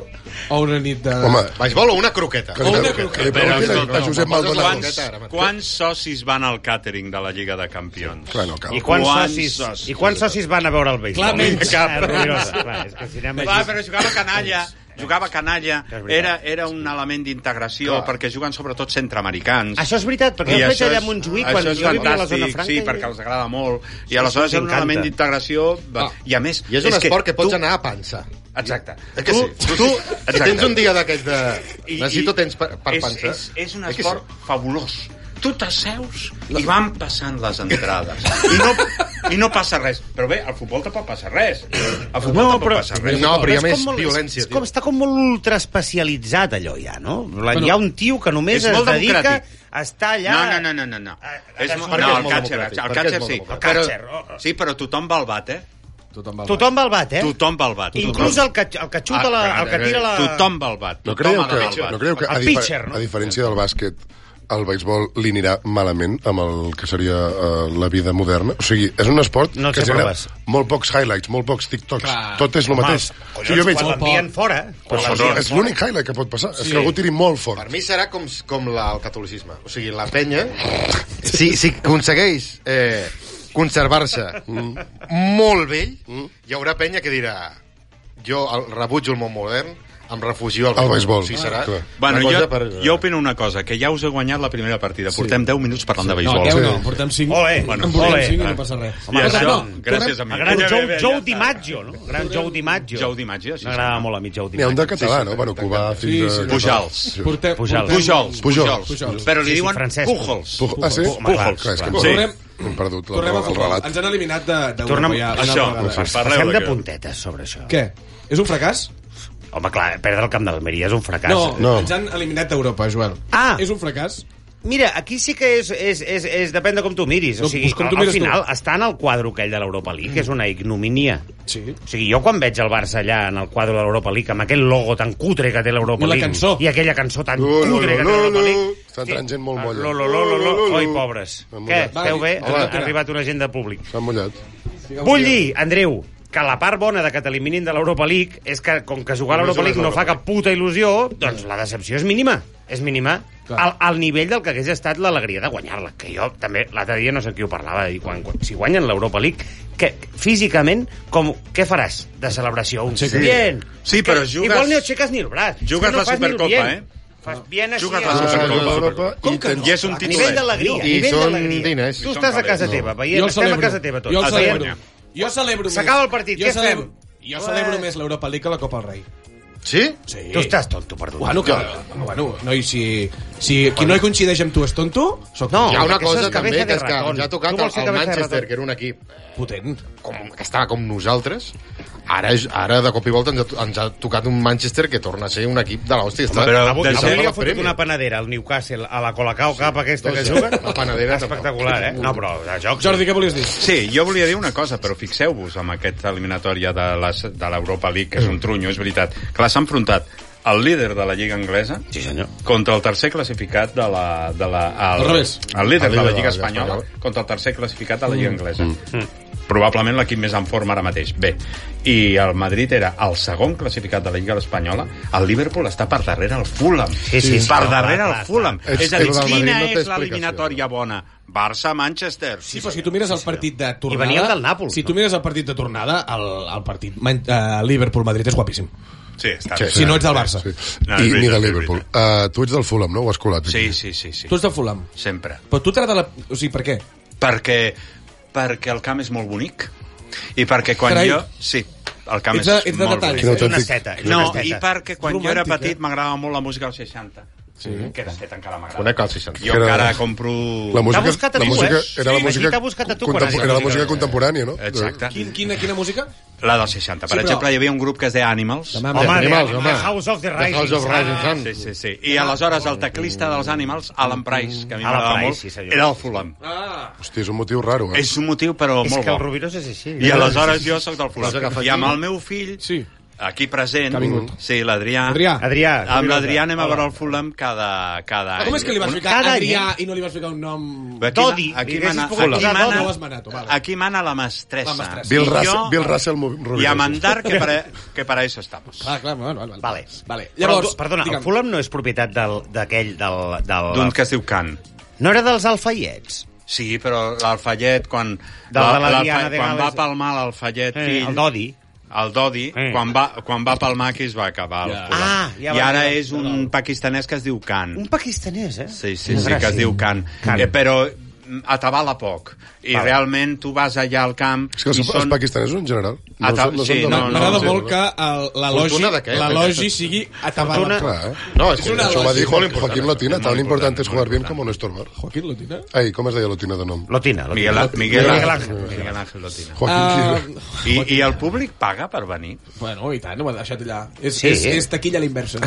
S4: o una nit de...
S2: Home,
S3: Vaig vol o una croqueta.
S2: que
S4: O
S2: li,
S4: una
S2: que
S4: croqueta.
S2: li preguntin a, a Josep Maldonado.
S7: Quants, quants socis van al càtering de la Lliga de Campions?
S2: Clar, no cal.
S6: I quants,
S7: Quants
S6: socis,
S7: socis.
S6: I quants socis van a veure el béisbol?
S4: Clar, menys.
S6: Cap. Rubirosa, clar, és que si anem
S7: Va,
S6: així...
S7: però jugava canalla. Jugava canalla.
S6: És veritat.
S7: Era, era un element d'integració, perquè juguen sobretot centroamericans.
S6: Això és veritat, perquè jo vaig allà a Montjuïc quan
S7: això
S6: jo
S7: és
S6: vivia a la
S7: fantàstic,
S6: zona franca.
S3: eh?
S7: sí,
S6: i-
S7: perquè els agrada molt. I aleshores
S6: sí,
S7: era un element
S6: m'encanta.
S7: d'integració...
S4: Ah.
S7: I a més...
S3: I és un esport que, pots
S7: tu-
S3: anar a pansa.
S7: Exacte.
S3: Eh que sí?
S7: Tu, tu,
S3: Si tens un dia d'aquests de... Necessito temps per, per
S7: és,
S3: pensar.
S7: És, és un
S3: Eh que
S7: esport
S3: sí?
S7: fabulós. Tu t'asseus i van passant les entrades. I no, I no passa res. Però bé, al futbol tampoc passa res. Al futbol
S6: No,
S7: tampoc
S6: però-
S7: passa res.
S3: No, però hi ha
S6: és com
S3: més
S6: molt-
S3: violència,
S6: És, és com,
S3: tio.
S6: està com molt ultraespecialitzat allò ja, no? Bueno, hi ha un tio que només
S7: és
S6: es
S7: molt
S6: dedica
S7: democràtic.
S6: a estar allà...
S7: No, no, no, no, no. no.
S6: A- a-
S7: és, mo-
S6: per què
S7: no,
S6: ah, és
S7: el
S6: molt
S7: catxer,
S3: democràtic?
S7: el
S3: Per què
S7: catxer
S3: és
S7: sí.
S3: molt
S6: democràtic?
S7: Però,
S6: El catxer, oh, oh.
S7: sí, però tothom va al bat, eh?
S4: Tothom va.
S6: Tothom va al bat, eh?
S7: Tothom va al bat.
S6: Inclús el que, el que xuta, la, el que tira la...
S7: Tothom va al bat.
S2: No
S7: tothom
S2: creieu
S7: ha
S2: que,
S7: d'anar al bat.
S2: no creieu que a,
S6: El
S2: difer-
S6: pitcher, no?
S2: a diferència del bàsquet, el béisbol li anirà malament amb el que seria eh, la vida moderna? O sigui, és un esport
S6: No el
S2: que
S6: sé
S2: genera
S6: proves.
S2: molt pocs highlights, molt pocs TikToks.
S4: Clar.
S2: Tot és el mateix.
S6: Collons,
S2: Si jo veig...
S6: quan l'envien fora...
S2: Però
S6: quan
S2: és-
S6: l'envien
S2: és
S6: fora.
S2: l'únic highlight que pot passar. És que algú tiri molt
S3: Per
S2: fort.
S3: mi serà com, com la, el catolicisme. O sigui, la penya, si, si aconsegueix eh, conservar-se Mm. molt vell, hi haurà penya que dirà jo el rebutjo el món modern, em refugio al
S2: Al béisbol.
S3: O sigui, serà
S2: Ah, clar.
S3: una
S7: Bueno,
S3: cosa
S7: jo,
S3: per... eh,
S7: jo opino una cosa, que ja us he guanyat la primera partida. Portem 10 minuts parlant de
S4: No,
S7: béisbol.
S4: 10
S2: Sí.
S4: no, portem 5.
S6: Ole,
S4: en portem
S6: ole.
S4: 5 i no passa res.
S7: I això,
S4: Escolta, no,
S7: gràcies a
S4: tornem-
S7: mi.
S6: El gran
S7: Ja, ja,
S6: Joe,
S7: ja,
S6: Joe
S7: ja.
S6: DiMaggio, no? El gran Joe DiMaggio.
S7: Joe DiMaggio, sí,
S6: M'agradava
S7: sí.
S6: molt a mi
S2: N'hi ha
S6: Joe
S2: un
S6: DiMaggio.
S2: de català, no? Bueno, cubà
S4: Sí,
S2: fins
S4: sí.
S2: a...
S7: Pujals.
S4: Portem,
S6: Pujals.
S4: portem-
S7: Pujols,
S2: Pujols.
S7: Pujols.
S4: Pujols.
S7: Però li
S6: Sí, sí,
S7: diuen
S6: Francesc
S7: Pujols.
S2: Puj- Ah, sí?
S6: Pujols.
S2: Clar, és que hem
S7: Sí.
S2: perdut, hem perdut la,
S4: Tornem a
S2: el
S4: futbol.
S2: relat.
S4: Ens han eliminat de, de
S6: Tornem-
S4: Europa ja. una
S7: Això,
S4: altra vegada.
S7: parleu
S6: Passem de
S7: d'aquest.
S6: puntetes sobre això.
S4: Què? És un fracàs?
S6: Home, clar, perdre el camp d'Almeria és un fracàs.
S4: No,
S2: No.
S4: ens han eliminat d'Europa, Joel.
S6: Ah.
S4: És un fracàs?
S6: Mira, aquí sí que és, és, és, és depèn de com tu miris. O
S4: No,
S6: sigui,
S4: doncs com
S6: al,
S4: tu
S6: al
S4: mires
S6: final
S4: tu.
S6: està en el quadre aquell de l'Europa League, que és una ignominia.
S4: Sí.
S6: O sigui, jo quan veig el Barça allà en el quadre de l'Europa League, amb aquell logo tan cutre que té l'Europa
S4: I la
S6: League,
S4: cançó.
S6: i aquella cançó tan
S2: Lo, lo,
S6: cutre que té
S2: lo,
S6: l'Europa
S2: lo.
S6: League... Ah,
S2: Està entrant gent molt molla.
S6: Lo, lo, lo, lo,
S2: Lo, lo, lo.
S6: lo. Oi, pobres.
S2: Em
S6: Què?
S2: mullat.
S6: Esteu
S4: Va,
S6: bé?
S4: hola.
S6: Ha ha arribat una gent de públic.
S2: S'han mullat.
S6: Vull dir, Andreu, que la part bona de que t'eliminin de l'Europa League és que, com que jugar a l'Europa League no fa cap puta il·lusió, doncs la decepció és mínima. És mínima.
S4: Clar.
S6: Al, al nivell del que hagués estat l'alegria de guanyar-la. Que jo també, l'altre dia no sé qui ho parlava, i quan, quan, si guanyen l'Europa League, que, físicament, com, què faràs de celebració? Un sí, bien.
S7: Sí, però jugues-
S6: Igual ni aixeques ni el braç. És
S7: Jugues
S6: que no
S7: la
S6: fas ni el
S7: Supercopa,
S6: bien.
S7: eh?
S6: Fas bien així.
S7: Jugues la
S6: eh?
S7: Supercopa.
S2: Supercopa d'Europa
S4: Com
S2: i
S4: que no?
S2: tens-
S7: I és un
S6: A
S7: títol...
S6: nivell d'alegria.
S3: I
S6: a nivell
S3: són
S6: d'alegria.
S3: diners.
S6: Tu estàs a casa
S7: No.
S6: teva, veient, estem a casa teva tots.
S4: Jo el
S6: Veient-
S4: celebro. Jo celebro més.
S6: S'acaba el partit,
S4: jo
S6: què fem?
S4: celebro- Jo celebro més l'Europa League que la Copa del Rei.
S3: Sí?
S4: Sí.
S6: Tu estàs tonto, perdó.
S4: Bueno, que, bueno, no, i si, si qui no hi coincideix amb tu és tonto, sóc
S6: No.
S3: Hi ha una
S6: Perquè això
S3: cosa
S6: és
S3: també
S6: cabeza
S3: que
S6: de
S3: és que
S6: ratón.
S3: ens ha tocat
S6: Tu vols
S3: el,
S6: ser
S3: el
S6: cabeza de
S3: Manchester,
S6: ratón?
S3: que era un equip
S4: potent.
S3: com, que estava com nosaltres, ara, és- ara de cop i volta ens ha, to- ens ha tocat un Manchester que torna a ser un equip de l'hòstia. Està,
S7: però
S6: Avui,
S7: Des de
S6: avui li
S7: la
S6: ha fotut una panadera al Newcastle, a la Colacao Cup aquesta que
S3: Dos,
S6: juga.
S3: la panadera tampoc.
S6: Espectacular, eh? No, però de joc...
S4: Jordi, què volies dir?
S7: Sí, jo volia dir una cosa, però fixeu-vos amb aquesta eliminatòria de les- de l'Europa League, que és un trunyo, és veritat. Clar, s'ha enfrontat el líder de la Lliga Anglesa
S6: Sí, senyor.
S7: contra el tercer classificat de la... De la el,
S4: Al revés.
S7: El líder,
S3: El
S7: de la Lliga Espanyola contra el tercer classificat de la Lliga Anglesa. Probablement l'equip més en forma ara mateix. Bé, i el Madrid era el segon classificat de la Lliga Espanyola. El Liverpool està per darrere el Fulham.
S6: Sí, sí, sí.
S7: per
S6: No,
S7: darrere
S6: clar,
S7: el
S6: clar,
S7: Fulham.
S2: clar.
S7: És a dir,
S2: És que el Madrid
S7: quina
S2: no
S7: és
S2: té explicació.
S7: l'eliminatòria bona? Barça-Manchester.
S4: Sí, però si tu mires el partit de tornada...
S6: venia el del Nàpols,
S4: Si
S6: no?
S4: tu mires el partit de tornada, el, el partit uh, Liverpool-Madrid és guapíssim.
S7: Sí, està
S2: Sí,
S7: bé.
S2: sí.
S4: Si no ets del Barça.
S2: Sí.
S7: No,
S2: I
S7: és
S2: ni de
S7: veritat, és
S2: Liverpool. Uh, tu ets del Fulham, no? Ho has colat.
S7: Sí, sí, sí, sí.
S4: Tu ets del Fulham.
S7: Sempre.
S4: Però tu t'agrada la... O sigui, per què?
S7: Perquè, perquè el camp és molt bonic i perquè quan
S4: Carai.
S7: jo... Sí, el camp
S4: Ets de-
S7: és
S4: ets de
S7: molt
S4: detall.
S7: bonic.
S2: Quin autèntic...
S6: Una seta.
S7: No,
S6: una
S7: i
S6: seta.
S7: perquè quan jo era
S4: Romàntic, eh?
S7: petit m'agradava molt la música als 60. Sí. Que de fet encara m'agrada.
S3: Conec el 60.
S7: Jo
S2: Que era-
S7: encara compro...
S2: La música,
S6: buscat a
S2: la
S6: tu,
S2: música,
S6: eh?
S2: era la
S6: Sí,
S2: música,
S6: aquí t'ha buscat a tu quan
S2: contem-
S6: has dit
S2: era la
S6: música.
S2: música contemporània, no?
S7: Exacte.
S4: Quin, quina, quina música?
S7: La dels 60. Per
S4: Sí, però-
S7: exemple, hi havia un grup que es deia Animals.
S4: Demà
S6: Home,
S4: Home,
S6: de,
S3: Animals,
S6: de
S3: home.
S6: House of the eh?
S3: The
S6: Rising.
S3: House of Rising Sun.
S7: Sí, sí, sí. I aleshores el teclista dels Animals, Alan Price, que a mi
S6: Alan
S7: m'agradava
S6: Price,
S7: molt,
S6: sí, senyor.
S7: era el Fulham.
S4: Ah.
S2: Hòstia, és un motiu raro, eh?
S7: És un motiu, però
S6: És
S7: molt
S6: que el
S7: bo.
S6: Rubirós és així.
S7: I aleshores jo sóc del
S3: Vas
S7: Fulham.
S3: agafar
S7: I amb
S3: aquí.
S7: el meu fill,
S4: Sí.
S7: aquí present,
S4: Que ha vingut.
S7: sí, l'Adrià,
S4: Adrià.
S6: Adrià.
S7: amb
S6: Rubirós.
S7: l'Adrià anem a
S6: Hola.
S7: veure el Fulham cada, cada
S4: Ah,
S7: any.
S4: com és que li vas
S7: Un-
S4: ficar
S6: Cada any,
S4: Adrià i no li vas ficar un nom...
S7: Aquí,
S6: Dodi,
S7: aquí,
S6: li haguessis
S7: mana,
S6: pogut
S7: aquí,
S6: posar
S7: mana,
S6: Dodi.
S4: No ho has manat, vale.
S7: aquí mana la
S4: La
S7: mestressa.
S4: mestressa.
S2: Bill
S7: I
S2: Russell,
S7: jo-
S2: Bill Russell Mo- Rubirós.
S7: I a mandar que
S6: *laughs*
S7: para, que para eso estamos.
S4: Ah, clar, bueno, vale, vale.
S6: Vale.
S4: vale.
S6: Llavors,
S4: Llavors,
S6: Però, perdona,
S4: digue'm.
S6: el Fulham no és propietat del- d'aquell... Del, del,
S7: D'un que es diu Can.
S6: No era dels alfaiets?
S7: Sí, però l'Alfallet, quan,
S6: De la- la
S7: l'Alfa-
S6: Diana de
S7: quan va
S6: Gales.
S7: palmar l'Alfallet,
S6: Eh,
S7: fill,
S6: el Dodi.
S7: el Dodi,
S6: Eh.
S7: quan, va, quan va palmar qui es va acabar el
S4: Ja.
S7: Fulham.
S6: Ah, ja
S7: I
S6: va,
S7: ara
S6: ja va.
S7: és un pakistanès que es diu Khan.
S6: Un pakistanès, eh?
S7: Sí, sí,
S6: Una
S7: sí, que
S6: gràcia.
S7: es diu Can.
S6: Can.
S7: Eh, però mm, atabala poc. I
S6: Val.
S7: realment tu vas allà al camp
S2: És que els,
S7: i
S2: són... els
S7: són...
S2: pakistanesos en general.
S7: Ah, tal-
S2: són-
S7: sí,
S2: són de-
S7: no, no,
S4: M'agrada
S7: sí,
S4: molt que el- l'elogi
S3: Fortuna de què?
S4: la logi sigui atabalat.
S2: Clar, eh?
S3: No, és,
S4: És
S3: que
S4: una
S2: Això ho
S3: això
S2: va
S4: lògica.
S3: va
S2: dir
S3: dir
S2: Jo-
S3: molt important.
S2: Joaquín Lotina, tan
S7: Molt
S2: important és
S7: important,
S2: jugar
S7: molt
S2: bien como no estorbar.
S4: Joaquín Lotina?
S2: Ai, com es deia Lotina de nom?
S6: Lotina, Lotina.
S7: Miguel, Miguel,
S2: Miguel
S7: Ángel.
S2: Ángel.
S7: Miguel Ángel Lotina.
S2: Joaquín
S4: Ah,
S7: I, I el públic paga per venir?
S4: bueno, i tant, ho ha deixat allà. És,
S6: Sí.
S4: sí. és, és taquilla a la inversa.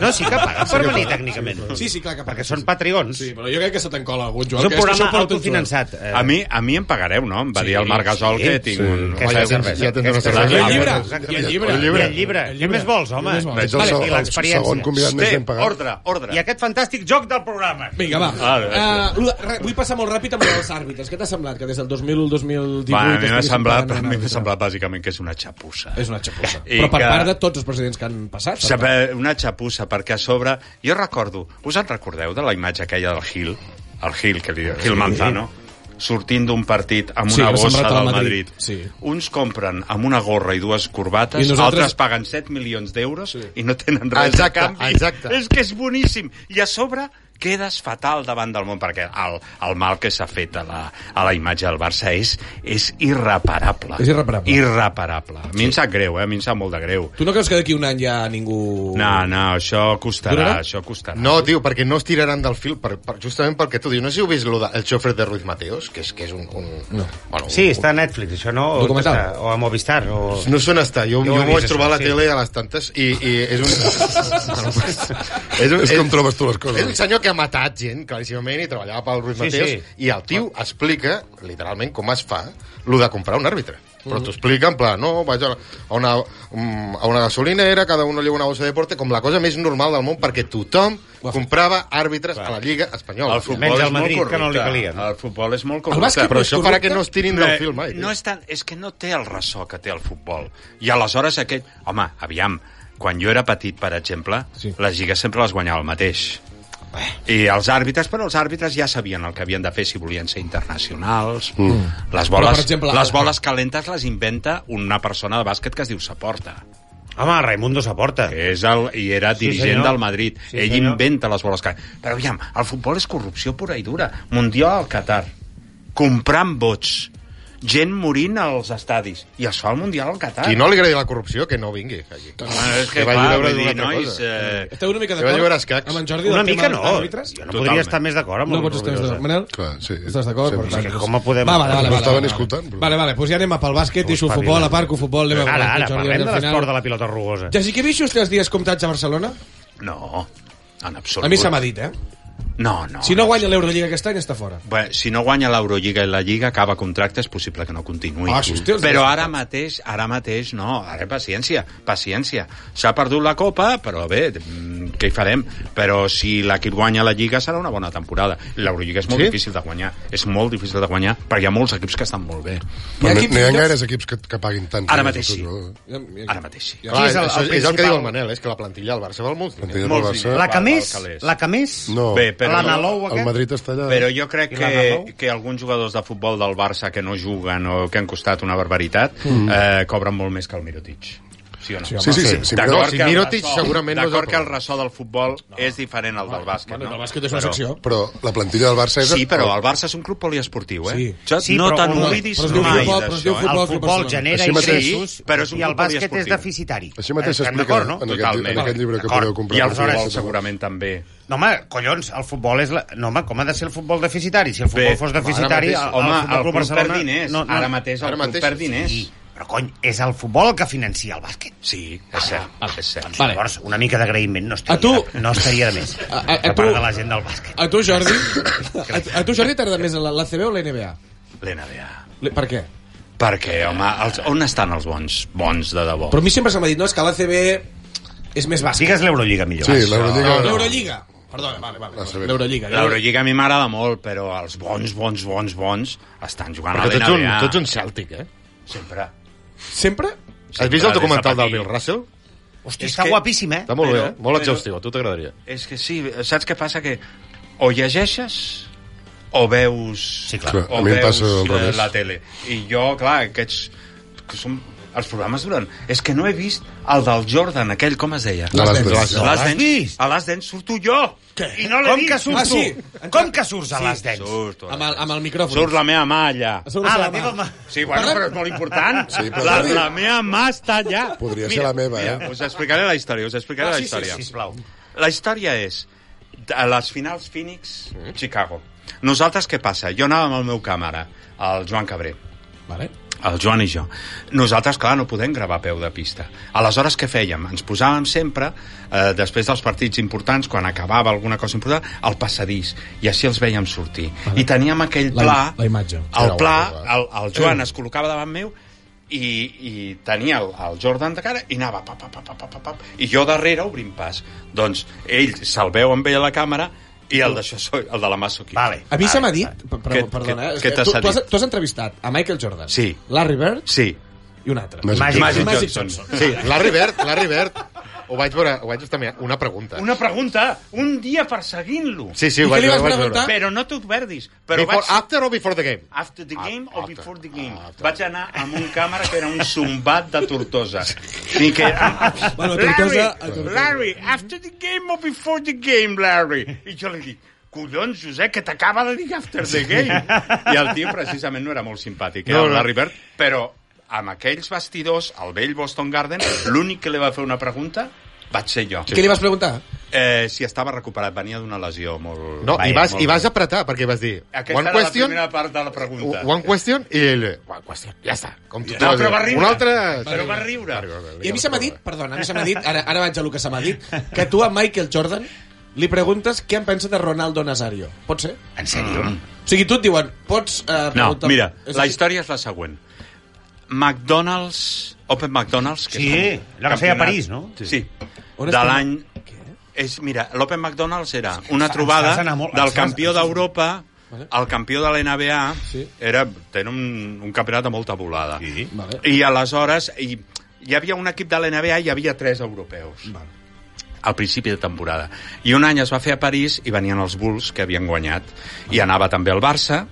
S6: No, sí que paga per venir, tècnicament.
S4: Sí, sí, clar que
S6: Perquè
S4: paga.
S6: són patrions.
S4: Sí, però jo crec que se t'encola algun, Joan.
S6: És un
S4: que que això
S6: programa
S4: porta un
S6: autofinançat. Eh,
S7: A mi, a mi em pagareu, no? Em va dir el Marc Gasol
S6: sí,
S7: que tinc un...
S6: Que és la
S3: ja tens-
S6: cervesa.
S3: ja tens una
S6: Aquesta és
S4: Joan.
S6: la
S4: I
S3: cervesa.
S4: el llibre,
S6: Exacte.
S4: i el llibre.
S2: El llibre.
S6: I el llibre. Què més vols, home?
S4: Què més vols?
S2: Ets el,
S6: Vale,
S2: segon,
S6: I
S2: el segon
S6: l'experiència.
S2: convidat més
S7: Té,
S2: ben pagat.
S7: ordre, ordre.
S6: I aquest fantàstic joc del programa.
S4: Vinga, va.
S7: Ah,
S4: Ah, uh, vull passar molt ràpid amb els àrbitres. Què t'ha semblat? Que des del 2001 al 2018...
S7: Va, a mi m'ha
S4: estiguessin
S7: semblat,
S4: parlant
S7: a
S4: d'un
S7: mi m'ha
S4: àrbitre?
S7: semblat bàsicament que és una xapussa.
S4: És una xapussa.
S7: I
S4: Però per
S7: que-
S4: part de tots els presidents que han passat. per
S7: Sabe, una xapussa, perquè a sobre... Jo recordo, us en recordeu de la imatge aquella del Gil? El Gil, que li diu, Gil Manzano? sortint d'un partit amb
S4: Sí,
S7: una
S4: la
S7: bossa
S4: samarreta
S7: del
S4: del
S7: Madrid.
S4: Madrid, sí.
S7: Uns compren amb una gorra i dues corbates,
S4: I
S7: I
S4: nosaltres-
S7: nosaltres... altres paguen 7 milions d'euros sí. i no tenen res
S3: Exacte,
S7: de canvi.
S3: exacte.
S7: És que és boníssim. I a sobre quedes fatal davant del món, perquè el, el mal que s'ha fet a la, a la imatge del Barça és, és irreparable.
S4: És irreparable.
S7: Irreparable. A mi em sap greu, eh? a mi em sap molt de greu.
S4: Tu no creus que d'aquí un any ja ningú...
S7: No, no, això costarà,
S4: Durarà?
S7: això costarà.
S3: No, tio, perquè no es tiraran del fil, per, per, justament perquè tu dius, no sé si heu vist lo de, el xofre de Ruiz Mateos, que és, que és un... un no. bueno,
S6: Sí, està a Netflix, això no? O
S4: Documental.
S6: està- O a Movistar. O...
S3: No sé on està, jo,
S6: Jo ho
S3: jo,
S6: he
S3: m'ho vaig
S6: vist,
S3: trobar a la
S6: sí.
S3: tele a les tantes i, i
S6: *laughs*
S3: és un... és,
S2: És com trobes tu les coses.
S3: És un senyor que ha matat gent, claríssimament, i treballava pel Ruiz
S6: Sí,
S3: Mateos,
S6: sí.
S3: i el tio explica, literalment, com es fa lo de comprar un àrbitre. Però t'ho explica en plan, no, vaig a la- a una, mm, a una gasolinera, cada un lleva una bossa de deporte, com la cosa més normal del món, perquè tothom comprava àrbitres a la Lliga Espanyola.
S7: El futbol
S6: Menys
S7: és
S6: al Madrid,
S7: molt
S6: que no li
S7: corrupte.
S6: calien.
S7: El futbol és molt
S4: El bàsquet
S7: corrupte.
S3: Però
S4: és
S3: això farà
S4: corrupte?
S3: que no es tirin del fil mai.
S7: Eh, no és, tan, és que no té el ressò que té el futbol. I aleshores aquest... Home, aviam, quan jo era petit, per exemple,
S4: Sí.
S7: sí. les lligues sempre les guanyava el mateix. I els àrbitres, però els àrbitres ja sabien el que havien de fer si volien ser internacionals. Mm. Les,
S4: Però,
S7: boles,
S4: per exemple,
S7: les
S4: el-
S7: boles calentes les inventa una persona de bàsquet que es diu Saporta.
S6: Home, Raimundo s'aporta.
S7: que és el, i era
S6: Sí,
S7: dirigent
S6: senyor.
S7: del Madrid.
S6: Sí,
S7: Ell
S6: senyor.
S7: inventa les boles que... Però aviam, el futbol és corrupció pura i dura. Mundial al Qatar, comprant vots, gent morint als estadis, i es fa el Mundial al Qatar.
S3: Qui no li agradi la corrupció, que no vingui aquí.
S7: Ah, és que,
S3: Que vagi
S7: clar,
S3: a veure
S7: vull dir,
S3: alguna altra
S7: nois...
S3: cosa.
S7: Eh,
S4: Esteu una mica
S3: Que va jugar a
S4: d'acord
S3: escacs.
S4: amb en Jordi
S6: Una
S4: del
S6: mica
S4: tema
S6: no.
S4: dels
S6: Jo no
S4: àrbitres?
S6: podria
S7: Totalment.
S6: estar més d'acord amb
S4: No
S6: el
S4: pots estar més
S6: Rubirosa.
S4: d'acord. Manel?
S2: Clar, sí.
S4: Estàs d'acord?
S2: Sí,
S4: Per tant, doncs-
S6: és que eh. com ho podem-
S4: Va, vale, vale,
S2: Ho
S4: vale,
S2: estaven
S4: vale.
S2: escoltant, però-
S4: Vale, vale, doncs ja anem a pel bàsquet, deixo el
S6: Espavila.
S4: futbol, a part que el futbol... anem a
S6: Ara,
S4: veure
S6: ara,
S4: el Jordi
S6: parlem
S4: al
S6: de l'esport
S4: final.
S6: de la pilota rugosa.
S4: Ja sí que he vist just els dies comptats a Barcelona.
S2: Tota
S7: no, en absolut.
S4: A mi se m'ha dit, eh?
S7: No, no.
S4: Si no guanya l'Eurolliga aquest any, està fora.
S7: Bé, si no guanya l'Eurolliga i la Lliga, acaba contracte, és possible que no continuï.
S4: Ah, sí, hòstia, els
S7: però
S4: dos.
S7: ara mateix, ara mateix no, ara paciència, paciència. S'ha perdut la Copa, però bé, mm, què hi farem? Però si l'equip guanya la Lliga serà una bona temporada. L'Eurolliga és molt
S3: Sí?
S7: difícil de guanyar, és molt difícil de guanyar, perquè hi ha molts equips que estan molt bé.
S4: Hi ha
S2: Però n'hi-
S4: equips
S2: n'hi ha
S4: millors?
S2: gaires equips que, que paguin tant. eh?
S7: Ara mateix sí. Ara
S4: Ara
S7: mateix.
S4: Ja.
S3: Clar,
S6: Qui
S3: és,
S6: és el-
S3: el, això,
S6: el
S3: és el que
S6: principal?
S3: diu el Manel, és que la plantilla del Barça val molts diners.
S2: Plantilla del
S7: Molts
S2: Barça...
S7: diners.
S6: La que
S7: Val,
S6: més,
S7: calés.
S6: la que més,
S2: No,
S7: Bé, però...
S6: la Nalou
S2: el
S6: aquest...
S2: Madrid està allà... eh?
S7: Però jo crec
S6: I la
S7: que,
S6: Nadal?
S7: que alguns jugadors de futbol del Barça que no juguen o que han costat una barbaritat mm. eh, cobren molt més que el Mirotic. Sí o no?
S4: Mm. Sí, home.
S2: Sí, sí, sí. Si mira,
S7: D'acord
S3: si
S7: que el
S3: Mirotic
S7: ressò-
S3: segurament no és el
S7: D'acord que el
S3: problema.
S7: ressò del futbol és diferent al del bàsquet,
S4: Bueno,
S7: no?
S4: el bàsquet és una
S7: Però-
S4: secció.
S2: però la plantilla del Barça és...
S7: Sí, però el Barça és un club poliesportiu, eh?
S4: Sí.
S7: Això
S6: Sí,
S7: no
S6: però
S7: te'n
S6: un-
S7: oblidis
S4: però es diu
S7: mai
S4: futbol, però es diu
S7: d'això, eh?
S4: futbol.
S6: El
S4: Futbol
S6: futbol
S4: professional.
S6: genera
S2: Així mateix.
S6: ingressos
S7: Sí, però és un
S6: i el
S7: futbol
S6: bàsquet és
S7: esportiu.
S6: deficitari.
S2: Així mateix
S6: Estem
S2: s'explica
S6: d'acord, no?
S2: en, aquest,
S7: Totalment.
S2: en aquest llibre que
S6: D'acord.
S2: podeu comprar.
S7: I el
S2: per
S7: futbol
S2: Barça.
S7: segurament també.
S6: No, home, collons, el futbol és... La... No, home, com ha de ser el futbol deficitari? Si el futbol
S7: Bé,
S6: fos
S7: ara
S6: deficitari...
S7: mateix, home,
S6: Futbol
S7: el
S6: Club
S7: club
S6: Barcelona
S7: perd diners. Ara mateix el
S3: Ara
S7: club
S3: mateix,
S7: perd diners.
S6: Sí, però cony, és el futbol el que financia el bàsquet.
S7: Sí, és cert, és cert.
S4: Ah, Vale.
S6: Llavors, una mica d'agraïment no estaria,
S4: A tu-
S6: no estaria de més.
S4: A- a- a tu-
S6: per part de la gent del bàsquet.
S4: A tu, Jordi, *coughs* a, a tu, Jordi, t'agrada més la, la CB o la NBA?
S7: L'NBA.
S4: Le- Per què?
S7: Perquè, home, els, on estan els bons? Bons de debò.
S4: Però a mi sempre se m'ha dit, no, és que la CB és més bàsquet.
S6: Digues l'Eurolliga millor.
S2: Sí,
S6: va.
S2: l'Eurolliga...
S4: L'Eurolliga. Perdona, vale, vale.
S2: La CB.
S4: L'Eurolliga.
S7: L'Eurolliga a mi m'agrada molt, però els bons, bons, bons, bons estan jugant
S3: Perquè
S7: a
S3: tu ets, un,
S7: l'NBA.
S3: tu ets un Celtic, eh?
S7: Sempre.
S4: Sempre?
S3: Has vist
S7: Sempre,
S3: el documental
S7: des de
S3: del
S7: petit.
S3: Bill Russell?
S6: Hosti,
S7: És
S6: està
S7: que-
S6: guapíssim, eh?
S3: Està molt
S7: Però-
S3: bé, eh? Molt
S7: però-
S3: exhaustiu, a tu t'agradaria.
S7: És que sí, saps què passa? Que o llegeixes o veus,
S6: Sí, clar.
S2: Clar,
S7: o
S2: a mi em
S7: veus
S2: passa al
S7: eh,
S2: revés.
S7: la tele. I jo, clar, aquests... Que som, els programes duren... És que no he vist el del Jordan, aquell, com es deia?
S2: De les
S4: Dance.
S2: dues.
S7: A
S6: l'has
S7: l'As Dance,
S6: vist?
S7: a l'As Dance surto jo.
S4: Què?
S6: I no l'he
S4: Com
S6: vist.
S4: que surts
S6: Ah, sí?
S4: tu?
S6: Com que surts a les dents?
S7: Surto. eh.
S4: Amb el, amb el micròfon.
S7: Surt la meva mà allà.
S4: Surt
S6: Ah,
S4: la
S6: la teva mà.
S7: Sí, bueno,
S4: Parlem-
S7: però és molt important.
S2: Sí, però-
S7: la, la meva mà està allà.
S2: Podria ser la meva,
S7: mira,
S2: eh?
S7: Us explicaré la història, us explicaré
S4: Ah,
S7: la
S4: sí, sí,
S7: història.
S6: Sisplau.
S7: La història és a les finals Phoenix, Chicago. Nosaltres què passa? Jo anava amb el meu càmera, el Joan Cabré,
S4: Vale.
S7: el Joan i jo. Nosaltres, clar, no podem gravar a peu de pista. Aleshores, què fèiem? Ens posàvem sempre, eh, després dels partits importants, quan acabava alguna cosa important, al passadís, i així els veiem sortir. I teníem aquell
S4: La-
S7: pla...
S4: la imatge.
S7: El
S2: Era
S7: pla,
S2: guapo,
S7: el, el Joan es col·locava davant meu i, i tenia el, el Jordan de cara i anava pap, pap, pap, pap, pap, pap, i jo darrere obrint pas. Doncs ell se'l veu amb ell a la càmera i el, d'això soy- el de la mà sóc jo.
S6: Vale.
S4: A mi se m'ha
S6: Vale,
S4: dit...
S6: vale.
S4: per- per-
S7: Què-
S4: Perdona,
S7: què-
S4: eh, és
S7: què
S4: que
S7: t'ha
S4: tu, tu, has,
S7: dit?
S4: tu has entrevistat a Michael Jordan,
S7: Sí.
S4: Larry Bird
S7: Sí.
S4: i un altre.
S2: Més-
S6: Màgic.
S7: Magic,
S4: Magic
S7: Johnson.
S4: Johnson.
S7: Sí,
S3: Larry Bird, Larry Bird. Ho vaig veure, ho vaig estar mirant. Una pregunta.
S7: Una pregunta, un dia perseguint-lo.
S3: Sí, sí,
S4: I
S3: ho
S4: què
S3: vaig
S4: li
S3: veure.
S4: vas
S3: ho vaig
S4: preguntar?
S3: veure.
S7: Però no t'ho perdis. Però
S3: Before,
S7: vaig...
S3: after o before the game?
S7: After the game
S3: Ah,
S7: o
S3: after.
S7: before the game.
S3: Ah, after.
S7: Vaig anar amb un càmera que era un zumbat de Tortosa. I que...
S4: *laughs* Bueno, a Tortosa- a
S7: Larry,
S4: Tortosa.
S7: Larry, after the game o before the game, Larry. I jo li dic, collons, Josep, que t'acaba de dir after the game. I el tio precisament no era molt simpàtic, eh,
S3: No,
S7: no,
S3: no.
S7: Larry Bird, però amb aquells vestidors, al vell Boston Garden, l'únic que li va fer una pregunta vaig ser jo.
S4: Què li vas preguntar?
S7: Eh, si estava recuperat, venia d'una lesió molt...
S3: No, i
S7: Vaja,
S3: vas,
S7: molt
S3: i vas
S7: greu.
S3: apretar, perquè vas dir...
S7: Aquesta
S3: one
S7: era la
S3: question,
S7: primera part de la pregunta.
S3: one question, i ell... One question, ja està. Com tu,
S7: No, però va riure.
S3: Un altre...
S7: Però va riure.
S4: I a mi se m'ha dit, perdona, a mi se m'ha dit, ara, ara vaig a lo que se m'ha dit, que tu a Michael Jordan li preguntes què en pensa de Ronaldo Nazario. Pot ser?
S6: En sèrio?
S4: O sigui, tu et diuen, pots... Eh,
S7: No,
S4: preguntar-
S7: mira,
S4: És
S7: la
S4: així?
S7: història és la següent. McDonald's, Open McDonald's...
S6: Sí,
S7: és un
S6: la que feia a
S7: campionat-
S6: París, no?
S7: Sí,
S4: On
S7: de
S4: està?
S7: l'any... És, mira, l'Open McDonald's era una
S6: Ens fas
S7: trobada
S6: anar molt- ens
S7: del
S6: fas-
S7: campió d'Europa
S4: Vale.
S7: el campió de la NBA
S4: Sí.
S7: era, tenen un, un campionat de molta volada. Sí.
S4: Vale.
S7: I aleshores hi, hi havia un equip de la NBA i hi havia tres europeus
S4: Vale.
S7: al principi de temporada. I un any es va fer a París i venien els Bulls, que havien guanyat. I anava també el Barça,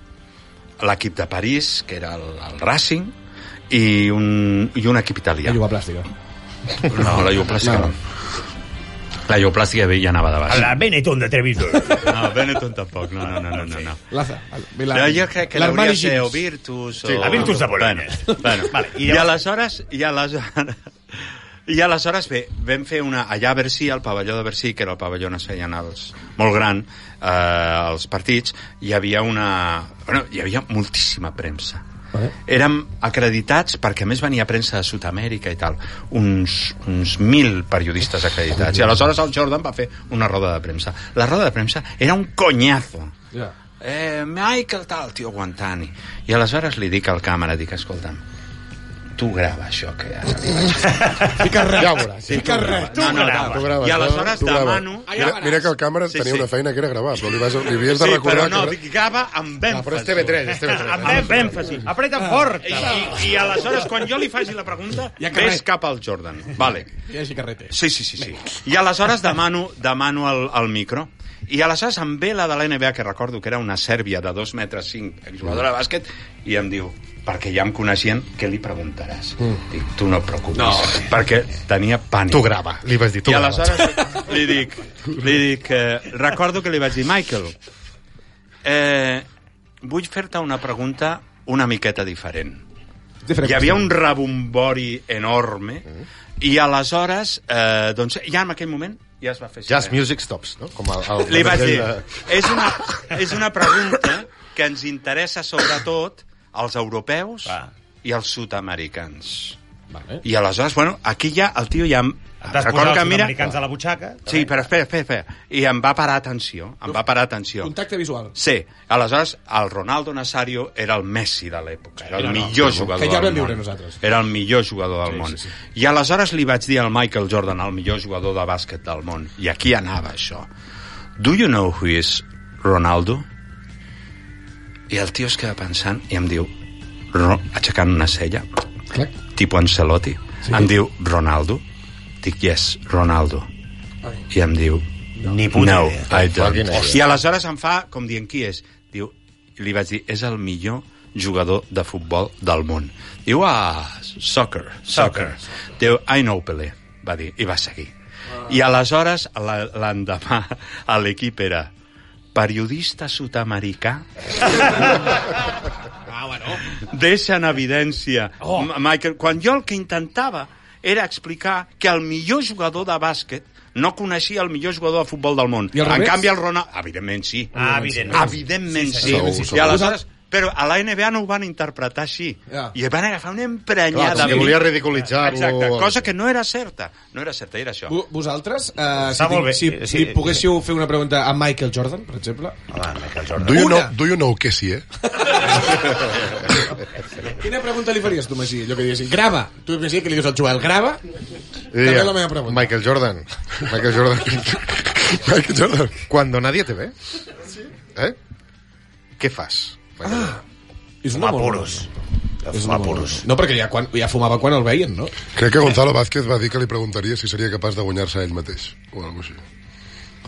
S7: l'equip de París, que era el, el Racing, i un, i un equip italià.
S4: La lluva plàstica.
S7: No, la Ioplàstica no. La Ioplàstica ja anava de baix.
S6: La Benetton de Treviso.
S7: No, Benetton tampoc, no, no, no, no, no. no.
S4: Laza.
S7: Però jo crec que l'hauria de
S4: L'armari
S7: ser
S4: Gims.
S7: o Virtus o...
S6: Sí, la Virtus de Bologna.
S7: Bueno, bueno.
S6: Vale, i
S7: i,
S6: llavors-
S7: aleshores... I aleshores... I aleshores bé, vam fer una... Allà a Bercí, al pavelló de Bercí, que era el pavelló on es feien els... Molt gran, eh, els partits, hi havia una... Bueno, hi havia moltíssima premsa.
S4: Vale.
S7: Érem acreditats, perquè a més venia premsa de Sud-amèrica i tal, uns, uns mil periodistes acreditats. I aleshores el Jordan va fer una roda de premsa. La roda de premsa era un conyazo.
S4: Ja.
S7: Eh, Michael, tal, tio, aguantant -hi. I aleshores li dic al càmera, dic, escolta'm, tu grava això que ara li vaig dir.
S4: Fica res.
S2: Ja ho veuràs.
S4: Fica res.
S7: No, no,
S6: grava.
S7: no.
S2: Tu graves,
S7: I aleshores
S2: tu graves.
S7: demano...
S4: ja
S2: Mira,
S4: veuràs.
S2: mira que el càmera
S7: Sí,
S2: tenia
S7: sí.
S2: una feina que era gravar, però li, vas, li havies de
S7: Sí,
S2: recordar...
S7: però no,
S2: que...
S7: dic, grava amb èmfasi.
S3: Ah, però és TV3, és TV3.
S6: Amb èmfasi. èmfasi. Apreta fort.
S7: I, i, I aleshores, quan jo li faci la pregunta,
S4: Ja
S7: ja
S4: que res.
S7: ves cap al Jordan. Vale.
S4: Hi hagi carreter.
S7: Sí, sí, sí, sí. I aleshores demano, demano el, el micro I aleshores em ve la de la NBA, que recordo que era una sèrbia de 2 metres 5, exjugadora de bàsquet, i em diu, perquè ja em coneixien, què li preguntaràs? Mm. Dic, tu no et preocupis, no. perquè tenia pànic.
S3: Tu grava, li vas dir, tu
S7: I
S3: grava.
S7: aleshores li dic, li dic eh, recordo que li vaig dir, Michael, eh, vull fer-te una pregunta una miqueta diferent. Hi havia un rebombori enorme i aleshores, eh, doncs, ja en aquell moment ja es va fer
S3: Jazz
S7: saber.
S3: Music Stops, no? Com el, el
S7: Li vaig
S6: *laughs*
S7: dir,
S3: de-
S7: és una, és una pregunta que ens interessa sobretot als europeus
S6: Va.
S7: i als sud-americans.
S4: Vale.
S7: I aleshores, bueno, aquí ja el tio ja... em-
S6: T'has
S7: recordo
S6: posat
S7: que
S6: els
S7: mira-
S6: americans a la butxaca.
S7: Sí, però espera, espera, espera. I em va parar atenció, em va parar atenció.
S4: Contacte visual.
S7: Sí, aleshores el Ronaldo Nazario era el Messi de l'època, era el
S4: no, no,
S7: millor jugador
S4: que ja
S7: del
S4: vam viure
S7: món.
S4: nosaltres.
S7: Era el millor jugador del món. I aleshores li vaig dir al Michael Jordan, el millor jugador de bàsquet del món, i aquí anava això. Do you know who is Ronaldo? I el tio es queda pensant i em diu, "Ro-" aixecant una cella,
S4: Clac.
S7: tipo Ancelotti, sí. em diu, Ronaldo? Dic, yes, Ronaldo. I em diu,
S6: Ni puta
S7: no,
S6: idea.
S7: I
S3: Fucking
S7: don't.
S3: idea.
S7: I aleshores em fa, com dient, qui és? Diu, li vaig dir, és el millor jugador de futbol del món. Diu, ah, soccer, soccer. Diu, I know Pelé, va dir, i va seguir. I aleshores, la- l'endemà, *laughs* a l'equip era periodista sud-americà deixa en evidència Ah, oh. Michael, quan jo el que intentava era explicar que el millor jugador de bàsquet no coneixia el millor jugador de futbol del món.
S4: I al
S7: en
S4: revés?
S7: canvi, el Ronald... Evidentment, sí.
S6: Ah, evidentment.
S7: Evidentment, sí.
S2: segur,
S7: sí.
S2: segur.
S7: I aleshores... Però a la NBA no ho van interpretar així.
S4: Ja.
S7: I van agafar una
S3: Clar,
S7: emprenyada.
S3: com que volia ridiculitzar-lo.
S7: Exacte, cosa que no era certa. No era certa, era això.
S4: Vo- Vosaltres, eh, si,
S6: Està
S4: tinc,
S6: molt bé.
S4: si,
S6: Sí,
S4: si
S6: sí.
S4: poguéssiu fer una pregunta a Michael Jordan, per exemple,
S6: Home, Michael Jordan.
S2: Do you,
S4: Una.
S2: know, do you know que sí, eh?
S4: quina pregunta li faries, tu, Magí? Allò que diguessin, grava. Tu, Magí, que li dius al Joel, grava.
S3: Li
S4: També la meva pregunta.
S3: Michael Jordan. Michael Jordan.
S4: *laughs*
S3: Michael Jordan. Cuando nadie te ve. Eh? Què fas? Ah.
S4: És
S6: Fumar
S4: molt
S6: puros.
S4: bona.
S6: De
S4: És
S6: fumar
S4: una molt bona.
S6: puros.
S4: No, perquè ja, quan, ja fumava quan el veien, no?
S2: Crec que Gonzalo Vázquez va dir que li preguntaria si seria capaç de guanyar-se ell mateix. O alguna cosa així.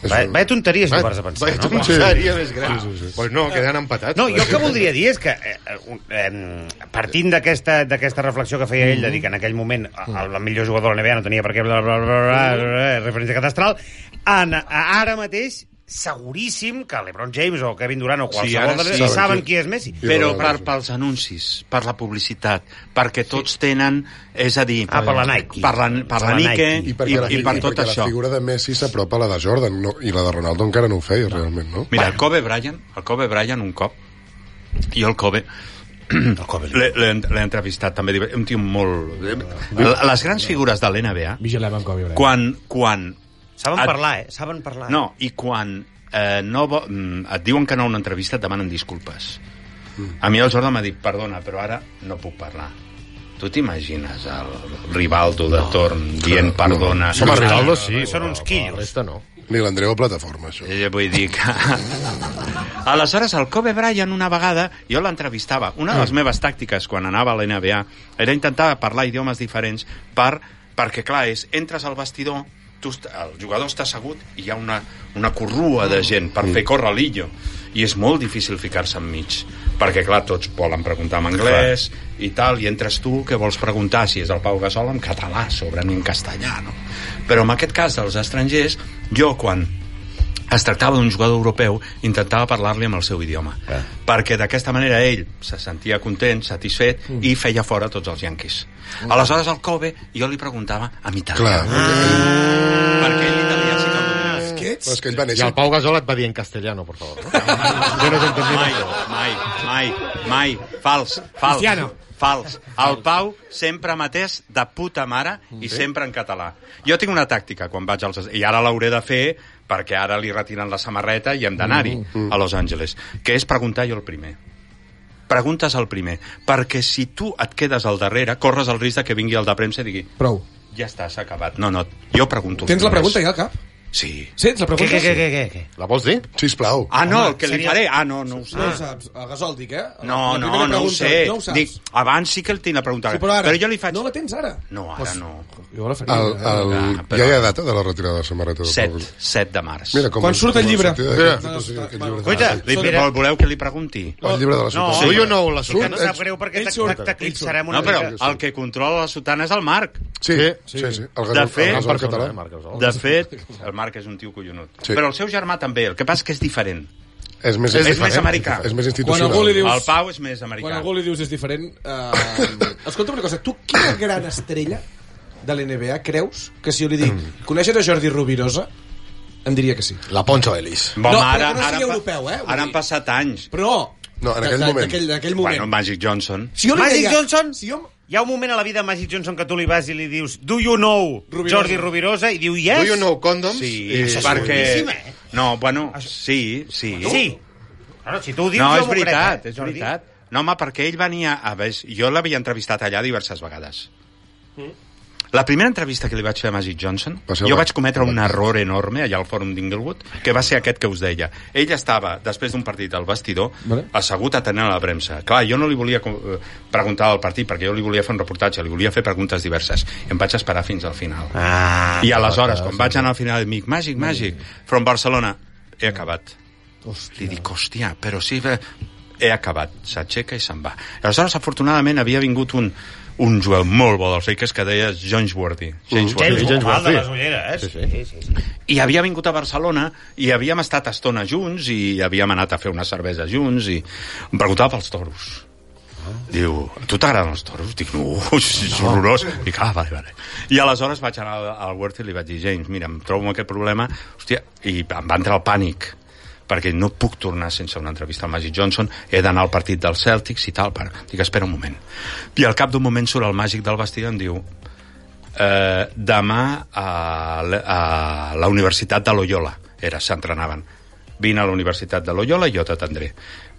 S2: És
S6: Va,
S2: un-
S6: vaya tonteries, no vas a pensar,
S3: Ah, Vaig
S6: no?
S3: no, seria més gran. Sí, sí, sí. Pues no, queden empatats.
S6: No, jo el que voldria dir és que, eh, eh, un- eh, partint d'aquesta d'aquesta reflexió que feia ell, de dir que en aquell moment el, el millor jugador de la NBA no tenia per què... Bla, bla, bla, bla, bla, bla, bla, eh, referència catastral, en, ara mateix seguríssim que LeBron James o Kevin Durant o
S7: ara
S6: qualsevol sí,
S7: sí.
S6: sí, saben qui és Messi.
S7: Però
S2: Ronaldo,
S7: per,
S2: sí.
S7: pels anuncis, per la publicitat, perquè tots tenen, és a dir...
S6: Ah, per la Nike.
S7: Per la, per la
S6: Per la
S7: Nike,
S6: Nike.
S7: i,
S2: I perquè, la,
S7: i, per tot
S2: perquè
S7: això.
S2: la figura de Messi s'apropa a la de Jordan no, i la de Ronaldo encara no ho feia, realment, no?
S7: Mira, el Kobe Bryant, el Kobe Bryant un cop, *clears throat* i el Kobe, *clears throat* l'he l'he- l'he entrevistat també, diver- un tio molt... L- Les grans figures de l'NBA,
S4: Vigilem amb Kobe Bryant.
S7: quan, quan...
S6: Saben
S7: et-
S6: parlar, eh? Saben parlar.
S7: No, i quan eh, no vo- mm, et diuen que no a una entrevista et demanen disculpes.
S3: Mm.
S7: A mi el Jordan m'ha dit, perdona, però ara no puc parlar. Tu t'imagines el Rivaldo de torn dient perdona?
S3: Som a Rivaldo, sí.
S6: eh, Són uns quillos.
S3: La resta no.
S2: Ni l'Andreu a plataforma, això.
S7: Eh, Vull dir que... *laughs* Aleshores, el Kobe Bryant una vegada jo l'entrevistava. Una de les meves tàctiques quan anava a la NBA era intentar parlar idiomes diferents per, perquè, clar, és, entres al vestidor, tu, est- el jugador està assegut i hi ha una, una corrua de gent per fer córrer l'illo. I és molt difícil ficar-se enmig, perquè, clar, tots volen preguntar en anglès i tal, i entres tu que vols preguntar si és el Pau Gasol en català, a sobre ni en castellà, no? Però en aquest cas dels estrangers, jo quan es tractava d'un jugador europeu, intentava parlar-li amb el seu idioma. Eh. Perquè d'aquesta manera ell se sentia content, satisfet, mm. i feia fora tots els yanquis. Mm. Aleshores, al Kobe, jo li preguntava a mitjà.
S2: Clar, ah,
S7: Perquè ell l'italià sí que el dominava.
S2: però és que ell va
S3: I
S2: néixer...
S3: el Pau Gasol et va dir en castellano, por favor. Jo no t'entendia.
S7: Mai, mai, mai, mai. Fals, fals.
S4: Cristiano.
S7: Fals. El Pau sempre m'atès de puta mare i sempre en català. Jo tinc una tàctica quan vaig als... I ara l'hauré de fer perquè ara li retiren la samarreta i hem d'anar-hi a Los Angeles, que és preguntar jo el primer. Preguntes al primer, perquè si tu et quedes al darrere, corres el risc de que vingui el de premsa i digui
S4: Prou.
S7: ja està, s'ha acabat. No, no, jo pregunto.
S4: Tens la
S7: primers.
S4: pregunta ja al cap?
S7: Sí.
S4: Sents la
S6: Què,
S4: pregunta?
S6: què, què, què, què, què?
S3: La vols dir?
S2: Sisplau.
S7: Ah, no,
S6: Home,
S7: el que li
S6: seria-
S7: faré... Ah, no, no ho sé.
S4: No ho saps. El gasol, dic, eh? La-
S7: No, no,
S4: la primera
S7: no ho
S4: pregunta,
S7: sé.
S4: No ho saps.
S7: Dic, abans sí que el tinc la pregunta.
S4: Sí, però, ara,
S7: jo li faig...
S4: No la tens ara?
S7: No, ara no.
S4: Jo la faria. eh.
S2: El, el...
S7: Ah, però-
S2: Ja hi ha data de la retirada de samarreta de
S7: 7,
S2: Pau.
S7: 7 de març.
S2: Mira com
S4: Quan surt el llibre.
S2: Mira,
S4: Mira.
S7: Coita, li,
S6: Mira.
S7: vol- voleu que li pregunti?
S2: el llibre de la
S6: No,
S2: sotana.
S3: Soy o no la
S6: Que
S3: sotana?
S6: no sap greu perquè
S4: Ell
S6: t'ac-
S4: surt.
S6: t'ac- t'eclipsarem una
S7: No, però
S6: mica.
S7: el que controla la sotana és el Marc.
S2: Sí, sí, sí. El gasol,
S7: De fet-
S2: el gasol català.
S7: De fet, el Marc és un tio collonut.
S2: Oh, Sí.
S7: Però el seu germà també, el que passa és que és diferent.
S2: És més,
S7: És més
S2: diferent.
S7: americà.
S2: És més
S4: Quan
S2: institucional.
S4: algú li dius...
S7: El Pau és més
S4: Quan
S7: americà.
S4: algú li dius és diferent... Eh... *coughs* Escolta'm una cosa, tu quina gran estrella de l'NBA creus que si jo li dic
S2: Mm.
S4: coneixes a Jordi Rovirosa, em diria que sí.
S3: La Poncho Ellis.
S7: Bon,
S4: No, però
S7: ara,
S4: que no sigui
S7: ara, han pa-
S4: europeu, eh? Vull
S7: Ara han
S4: dir-
S7: passat anys.
S4: Però...
S2: No, en
S4: de-
S2: aquell
S4: de-
S2: moment.
S4: d'aquell- D'aquell moment.
S7: Bueno, Magic Johnson.
S4: si jo li
S6: Magic
S4: deia-
S6: Johnson?
S4: Si jo...
S6: Hi ha un moment a la vida de Magic Johnson que tu li vas i li dius Do you know
S4: Rovirosa.
S6: Jordi Rovirosa? I diu yes.
S3: Do you know condoms?
S7: Sí,
S3: I-
S7: perquè...
S6: boníssim, eh?
S7: No, bueno, sí, sí.
S6: Sí. Claro, si tu ho dius,
S7: No,
S6: jo
S7: és
S6: m'ho crec,
S7: veritat,
S6: eh,
S7: és
S6: Jordi.
S7: veritat. No, home, perquè ell venia... A veure, jo l'havia entrevistat allà diverses vegades.
S6: Mm.
S7: La primera entrevista que li vaig fer a Magic Johnson,
S2: Va ser
S7: jo
S2: la-
S7: vaig cometre un error enorme allà al fòrum d'Inglewood, que va ser aquest que us deia. Ell estava, després d'un partit al vestidor,
S4: Vale.
S7: assegut atenent a la premsa. Clar, jo no li volia com- eh, preguntar al partit, perquè jo li volia fer un reportatge, li volia fer preguntes diverses. Em vaig esperar fins al final.
S6: Ah,
S7: I aleshores, quan vaig anar al final, dic, màgic, màgic, from Barcelona, he acabat. Ah. Hòstia. Li dic, hòstia, però sí... eh, He acabat, s'aixeca i se'n va. Aleshores, afortunadament, havia vingut un, un jueu molt bo dels Lakers que deia James Worthy. Mm. James
S6: James,
S7: Worthy.
S6: James de les ulleres. Sí, sí. sí, sí.
S7: I havia vingut a Barcelona i havíem estat estona junts i havíem anat a fer una cervesa junts i em preguntava pels toros. Diu, a tu t'agraden els toros? Dic, no, *laughs* és horrorós. Dic, ah, vale, vale. I aleshores vaig anar al- al Werther i li vaig dir, James, mira, em trobo amb aquest problema, hòstia, i em va entrar el pànic perquè no puc tornar sense una entrevista al Magic Johnson, he d'anar al partit dels Celtics i tal, per... dic, espera un moment. I al cap d'un moment surt el màgic del vestidor i em diu, eh, demà a, l- a la Universitat de Loyola, era, s'entrenaven. Vine a la Universitat de Loyola i jo t'atendré.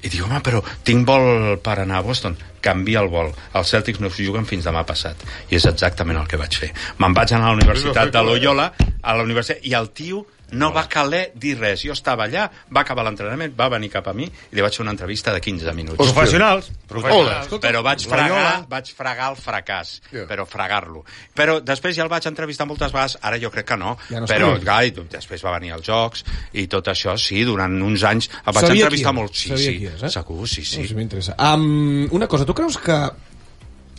S7: I diu, home, però tinc vol per anar a Boston. Canvia el vol. Els Celtics no s'hi juguen fins demà passat. I és exactament el que vaig fer. Me'n vaig anar a la Universitat de Loyola, a la universitat, i el tio no va caler dir res. Jo estava allà, va acabar l'entrenament, va venir cap a mi i li vaig fer una entrevista de 15 minuts.
S2: Hòstia.
S6: Professionals. Professionals.
S7: Però vaig fregar, vaig fregar el fracàs,
S2: Ja.
S7: però fregar-lo. Però després ja el vaig entrevistar moltes vegades, ara jo crec que no,
S4: Ja no
S7: però
S4: sabem.
S7: gai, després va venir als Jocs i tot això, sí, durant uns anys el vaig
S4: Sabia
S7: entrevistar
S4: qui era,
S7: molt. Sí,
S4: sabia
S7: sí,
S4: qui és, eh?
S7: segur, sí,
S4: Sí.
S7: sí.
S4: No, sí, m'interessa. Um, una cosa, tu creus que...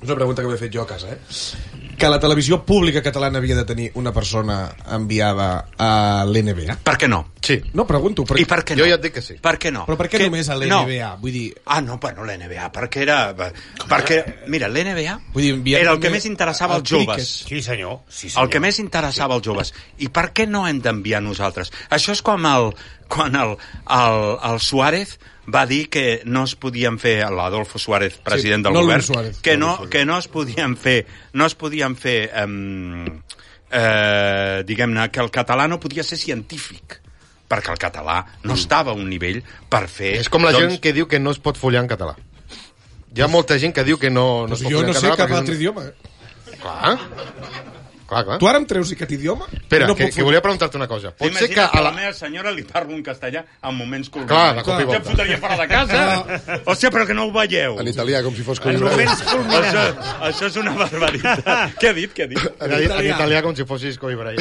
S4: És una pregunta que m'he fet jo a casa, eh? Que la televisió pública catalana havia de tenir una persona enviada a l'NBA?
S7: Per què no?
S3: Sí.
S4: No, pregunto. Perquè...
S7: I per què
S3: Jo
S7: no?
S3: ja et dic que sí.
S7: Per què no?
S4: Però per què
S7: Que-
S4: només a l'NBA? Vull dir,
S7: Ah, no, bueno, l'NBA, perquè era... Perquè, mira, l'NBA
S4: Vull dir, enviar
S7: era el que
S4: també
S7: més interessava
S4: al
S7: als joves.
S4: cricket.
S6: Sí, senyor. Sí, senyor.
S7: El que més interessava als joves. I per què no hem d'enviar nosaltres? Això és com el, quan el, el, el Suárez va dir que no es podien fer l'Adolfo Suárez, president del
S4: no
S7: govern,
S4: Luis Suárez,
S7: que, no, que no es podien fer no es podien fer um, eh, diguem-ne que el català no podia ser científic perquè el català no estava a un nivell per fer...
S3: Mm.
S7: doncs,
S3: És com la
S6: Doncs-
S3: gent que diu que no es pot follar en català. Hi ha molta gent que diu que no, no es pot
S4: jo
S3: follar
S4: no
S3: en
S4: sé
S3: català.
S4: cap
S3: perquè
S4: altre idioma. eh?
S3: és un- Clar. Clar, clar.
S4: Tu ara em treus i aquest idioma?
S3: Espera,
S4: no
S3: que,
S4: puc
S3: que
S4: fer-
S3: volia preguntar-te una cosa. Pot ser
S7: Imagina't
S3: que... A
S7: la...
S3: la...
S7: meva senyora li parlo en castellà en moments culminants.
S3: Clar, de cop i
S7: Ja em
S3: volta.
S7: fotria fora de casa. Hòstia, però que no ho veieu.
S2: En italià, com si fos...
S6: En moments
S7: Això,
S6: culminants.
S7: això és una barbaritat. Què ha dit, què ha dit?
S3: En, italià. en italià com si fossis Coibra.
S7: *laughs*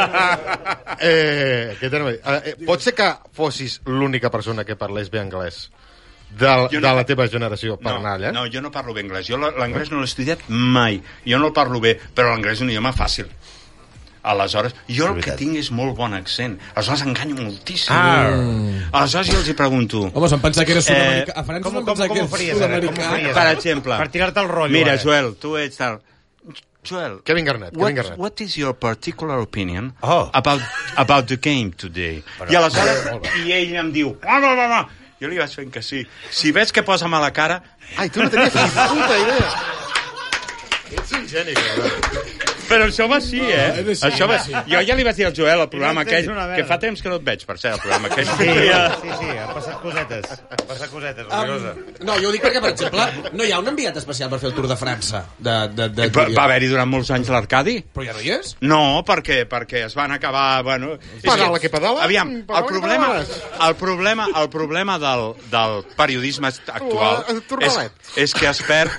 S3: Eh, eh, què t'anava a dir? Eh, eh, pot ser que fossis l'única persona que parlés bé anglès de,
S7: Jo
S3: de
S7: no-
S3: la teva generació per
S7: no,
S3: anar allà?
S7: no, jo no parlo bé anglès. Jo la- l'anglès no l'he estudiat mai. Jo no el parlo bé, però l'anglès és un idioma fàcil. Aleshores, jo el que tinc és molt bon accent. Aleshores, enganyo moltíssim. Aleshores, jo els hi pregunto...
S4: Home, se'm pensa que era sud-americà.
S7: Eh,
S4: a França
S6: com-
S4: se'm
S6: com-
S4: pensava
S6: com
S4: que
S6: ho
S4: era
S6: faries, ara? Com ho
S4: sud-americà.
S6: faries?
S7: Per exemple...
S6: Per tirar-te el rotllo, eh.
S7: Mira,
S6: ara.
S7: Joel, tu ets tal... Joel,
S3: Kevin Garnett, Kevin
S7: what,
S3: Garnett.
S7: what is your particular opinion
S6: Oh.
S7: about, about the game today? I aleshores, i ell em diu, home, home, home, jo li vaig fent que sí. Si veig que posa mala cara,
S3: Ai, tu no tenies ni puta idea. Ets un geni, Clara.
S7: Però això va així, eh?
S4: és així,
S7: això va
S4: és
S7: així. Jo ja li vaig dir al Joel, al programa
S6: I no entens
S7: aquell,
S6: una merda.
S7: que fa temps que no et veig, per cert, al programa aquell.
S6: Sí,
S7: Ja.
S6: sí, sí, han passat cosetes. Han passat cosetes,
S3: Ah.
S4: Um,
S6: um...
S4: no, jo ho dic perquè, per exemple, no hi ha un enviat especial per fer el Tour de França. De, de, de,
S7: Va, va haver-hi durant molts anys l'Arcadi?
S4: Però ja no hi és?
S7: No, perquè, perquè es van acabar... Bueno, és
S3: Pedala que pedala,
S7: Aviam,
S3: pedala
S7: el
S3: que
S7: problema,
S3: Mm, pedales.
S7: el problema, el problema del, del periodisme actual
S3: La- el
S7: és,
S3: turbalet.
S7: és que es perd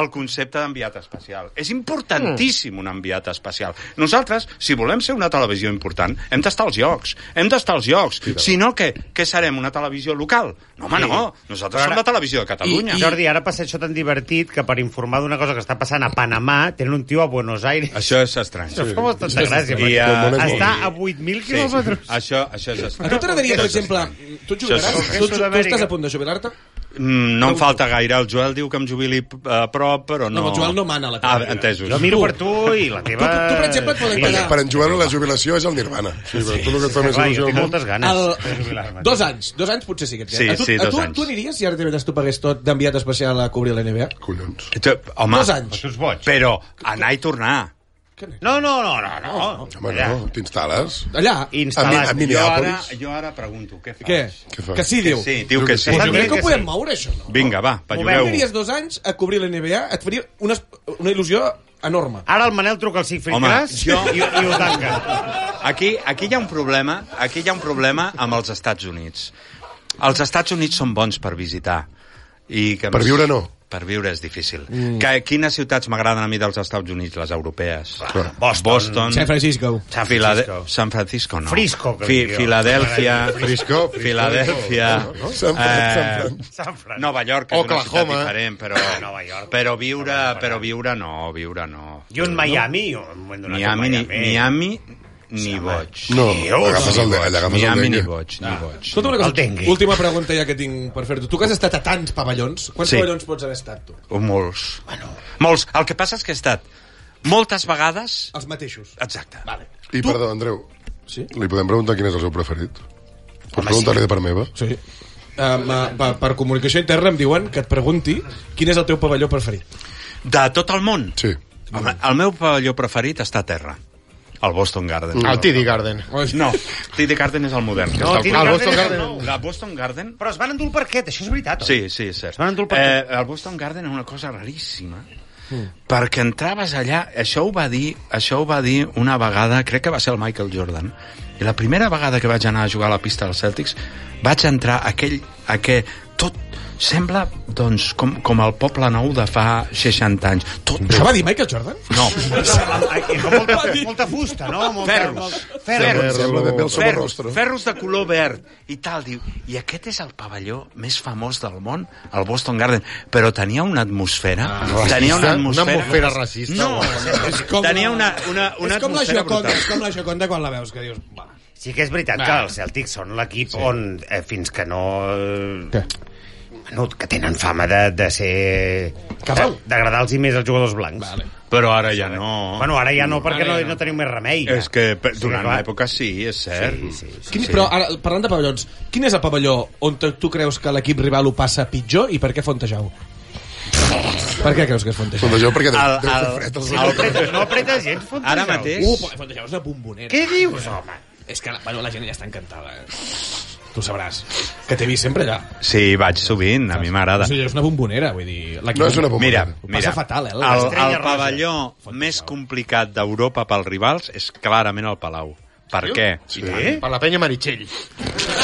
S7: el concepte d'enviat especial. És importantíssim un enviat especial. Nosaltres, si volem ser una televisió important, hem d'estar als llocs. Hem d'estar als llocs. Si no, què, què serem? Una televisió local? No, home, no. Nosaltres som la televisió de Catalunya.
S6: Jordi, ara passa això tan divertit que per informar d'una cosa que està passant a Panamà tenen un tio a Buenos Aires.
S7: Això és estrany.
S6: *laughs* Això fa bastanta gràcia.
S7: I,
S6: perquè
S7: eh,
S6: Està
S7: i-
S6: a 8.000
S7: Sí,
S6: quilòmetres.
S7: això, això és estrany.
S4: A tu t'agradaria, per exemple... Tu et jubilaràs?
S7: Això és-
S4: Tu, tu, tu
S6: Sud-amèrica.
S4: estàs a punt de jubilar-te?
S7: Mm, No em falta gaire. El Joel diu que em jubili a prop, però no...
S4: No, el Joel no mana la teva
S7: Ah,
S4: vida.
S7: entesos.
S6: Jo miro per tu i la teva...
S4: Tu- tu, per exemple, et poden
S6: vida.
S4: quedar-
S2: Per en Joan, la jubilació és el nirvana. Sí, sí, tu el que et fa més
S6: Clar,
S2: il·lusió
S6: jo
S2: al
S6: tinc
S2: món...
S6: moltes ganes. de jubilar-me.
S4: El, dos anys, dos anys potser sí que et queden.
S7: Sí,
S4: a tu,
S7: sí,
S4: a
S7: dos
S4: tu,
S7: anys.
S4: Tu aniries si ara TV3 t'ho pagués tot d'enviat especial a cobrir la NBA?
S2: Collons.
S7: Tu- Home,
S4: Dos anys.
S6: Tu ets boig.
S7: però anar i tornar.
S6: No, no, no, no, no.
S2: Home,
S6: Allà.
S2: no, t'instal·les.
S4: Allà,
S2: A
S6: Instal·lat.
S2: mi-
S7: Jo
S2: Minneapolis.
S7: ara, jo ara pregunto, què faig?
S4: què?
S2: Què fa?
S4: Que sí, diu.
S7: Sí, diu que sí.
S4: Pues
S6: Diu
S4: mira que
S6: que
S4: ho podem
S6: sí.
S4: moure, això, no?
S7: Vinga, va,
S4: Tu
S7: palloreu.
S4: aniries dos anys a cobrir la NBA, et faria una, una il·lusió
S7: Mm.
S4: enorme.
S6: Ara el Manel truca al Sigfrid
S7: Home,
S6: Gras
S7: jo-
S6: i, i ho tanca.
S7: Aquí, aquí hi ha un problema, aquí hi ha un problema amb els Estats Units. Els Estats Units són bons per visitar. I que
S2: Per viure no.
S7: Per viure és difícil. Mm. Que, quines ciutats m'agraden a mi dels Estats Units? Les europees.
S2: Clar.
S7: Boston. Boston.
S4: San Francisco.
S7: San Francisco. San Francisco, no.
S6: Frisco, que
S7: Fi
S6: diria.
S7: Filadèlfia.
S2: Frisco, Frisco.
S7: Filadèlfia.
S2: "Oh, No, no, no. San Fran- San Fran.
S6: Sant Fran.
S7: Nova York, que és una ciutat
S3: Oklahoma.
S7: diferent, però,
S6: Ah, Nova York.
S7: però, viure, però viure no, viure no.
S6: I un Miami, jo em he donat
S7: Miami,
S6: un
S7: ni,
S6: Miami.
S7: Miami ni boig.
S2: No, agafes el, allà agafes el
S7: Miami ni
S2: dengue.
S7: boig,
S6: Ah.
S7: ni boig.
S4: Escolta'm una cosa,
S6: El dengue.
S4: última pregunta ja que tinc per fer-te. Tu que has estat a tants pavellons, quants
S7: Sí.
S4: pavellons pots haver estat, tu?
S7: O molts. Bueno. Molts. El que passa és que he estat moltes vegades...
S4: Els mateixos.
S7: Exacte.
S4: Vale.
S2: I, perdó, Andreu,
S4: Sí?
S2: li podem preguntar quin és el seu preferit? Pots preguntar-li de part meva?
S4: Sí. Um, per, per comunicació interna em diuen que et pregunti quin és el teu pavelló preferit.
S7: De tot el món.
S2: Sí.
S7: El, el meu pavelló preferit està a terra. El Boston Garden.
S4: Ah,
S3: El TD Garden.
S7: No, TD Garden és el modern. que
S6: No,
S7: està al
S6: Tini
S3: Ah,
S7: costat.
S6: Garden
S3: el Boston
S6: és el
S3: Garden.
S6: nou.
S7: La Boston Garden
S6: Però es van endur el parquet, això és veritat. oi?
S7: Sí, sí, és cert.
S6: Es van endur per
S7: Eh, el Boston Garden era una cosa raríssima, perquè entraves allà, això ho va dir, això ho va dir una vegada, crec que va ser el Michael Jordan. I la primera vegada que vaig anar a jugar a la pista dels Celtics, vaig entrar a aquell a que tot sembla doncs com com el poble nou de fa 60 anys. Tot
S4: Això va dir Michael Jordan? *laughs*
S7: no.
S6: Ai, és com molta, molta fusta, no? Molta,
S7: Ferros.
S6: molt-
S2: Sembla-
S6: Ferros.
S2: Sembla ben bé el
S7: Ferros,
S2: somorrostro.
S7: ferros de color verd i tal, diu, i aquest és el pavelló més famós del món, el Boston Garden però tenia una atmosfera ah, tenia una
S3: racista?
S7: atmosfera,
S3: Una atmosfera racista,
S7: no,
S4: És
S7: tenia una, una, una
S4: és com la
S7: atmosfera
S4: Gioconda,
S7: brutal
S4: és com la Gioconda quan la veus, que dius... Va.
S6: Sí que és veritat que els Celtics són l'equip on, eh, fins que no...
S4: Què?
S6: Menut, que tenen fama de, de ser...
S4: Cafau.
S6: de- D'agradar-los i més als jugadors blancs. Vale.
S7: però ara ja no
S6: Bueno, ara ja no, perquè no, no teniu més remei. Ja.
S7: és que per- durant
S6: clar.
S7: una època sí, és cert
S6: Sí, sí, sí.
S4: Quin, Però ara, parlant de pavellons, quin és el pavelló on te- tu creus que l'equip rival ho passa pitjor i per què Fontejau? per què creus que és Fontejau?
S2: Doncs jo perquè deu,
S7: El-
S2: deu fer
S7: el-
S2: fred. Els...
S6: Si no apreta, no apreta gens, fot
S7: ara
S6: dijous.
S7: mateix
S4: Uh, Fontejau és una bombonera.
S6: Què dius, home?
S4: És que la, bueno, la gent ja està encantada. Eh? Tu sabràs. Que t'he vist sempre allà.
S7: sí, vaig sovint, a mi
S4: O
S7: m'agrada
S4: sigui, és una bombonera, vull dir... l'equip-
S2: No és una bomba.
S7: Mira,
S4: Ho
S7: mira,
S4: passa fatal, eh,
S7: el,
S4: la
S7: el,
S6: Estrella Roja.
S7: pavelló més complicat d'Europa pels rivals és clarament el Palau. Per què? Sí.
S3: Per la penya Meritxell.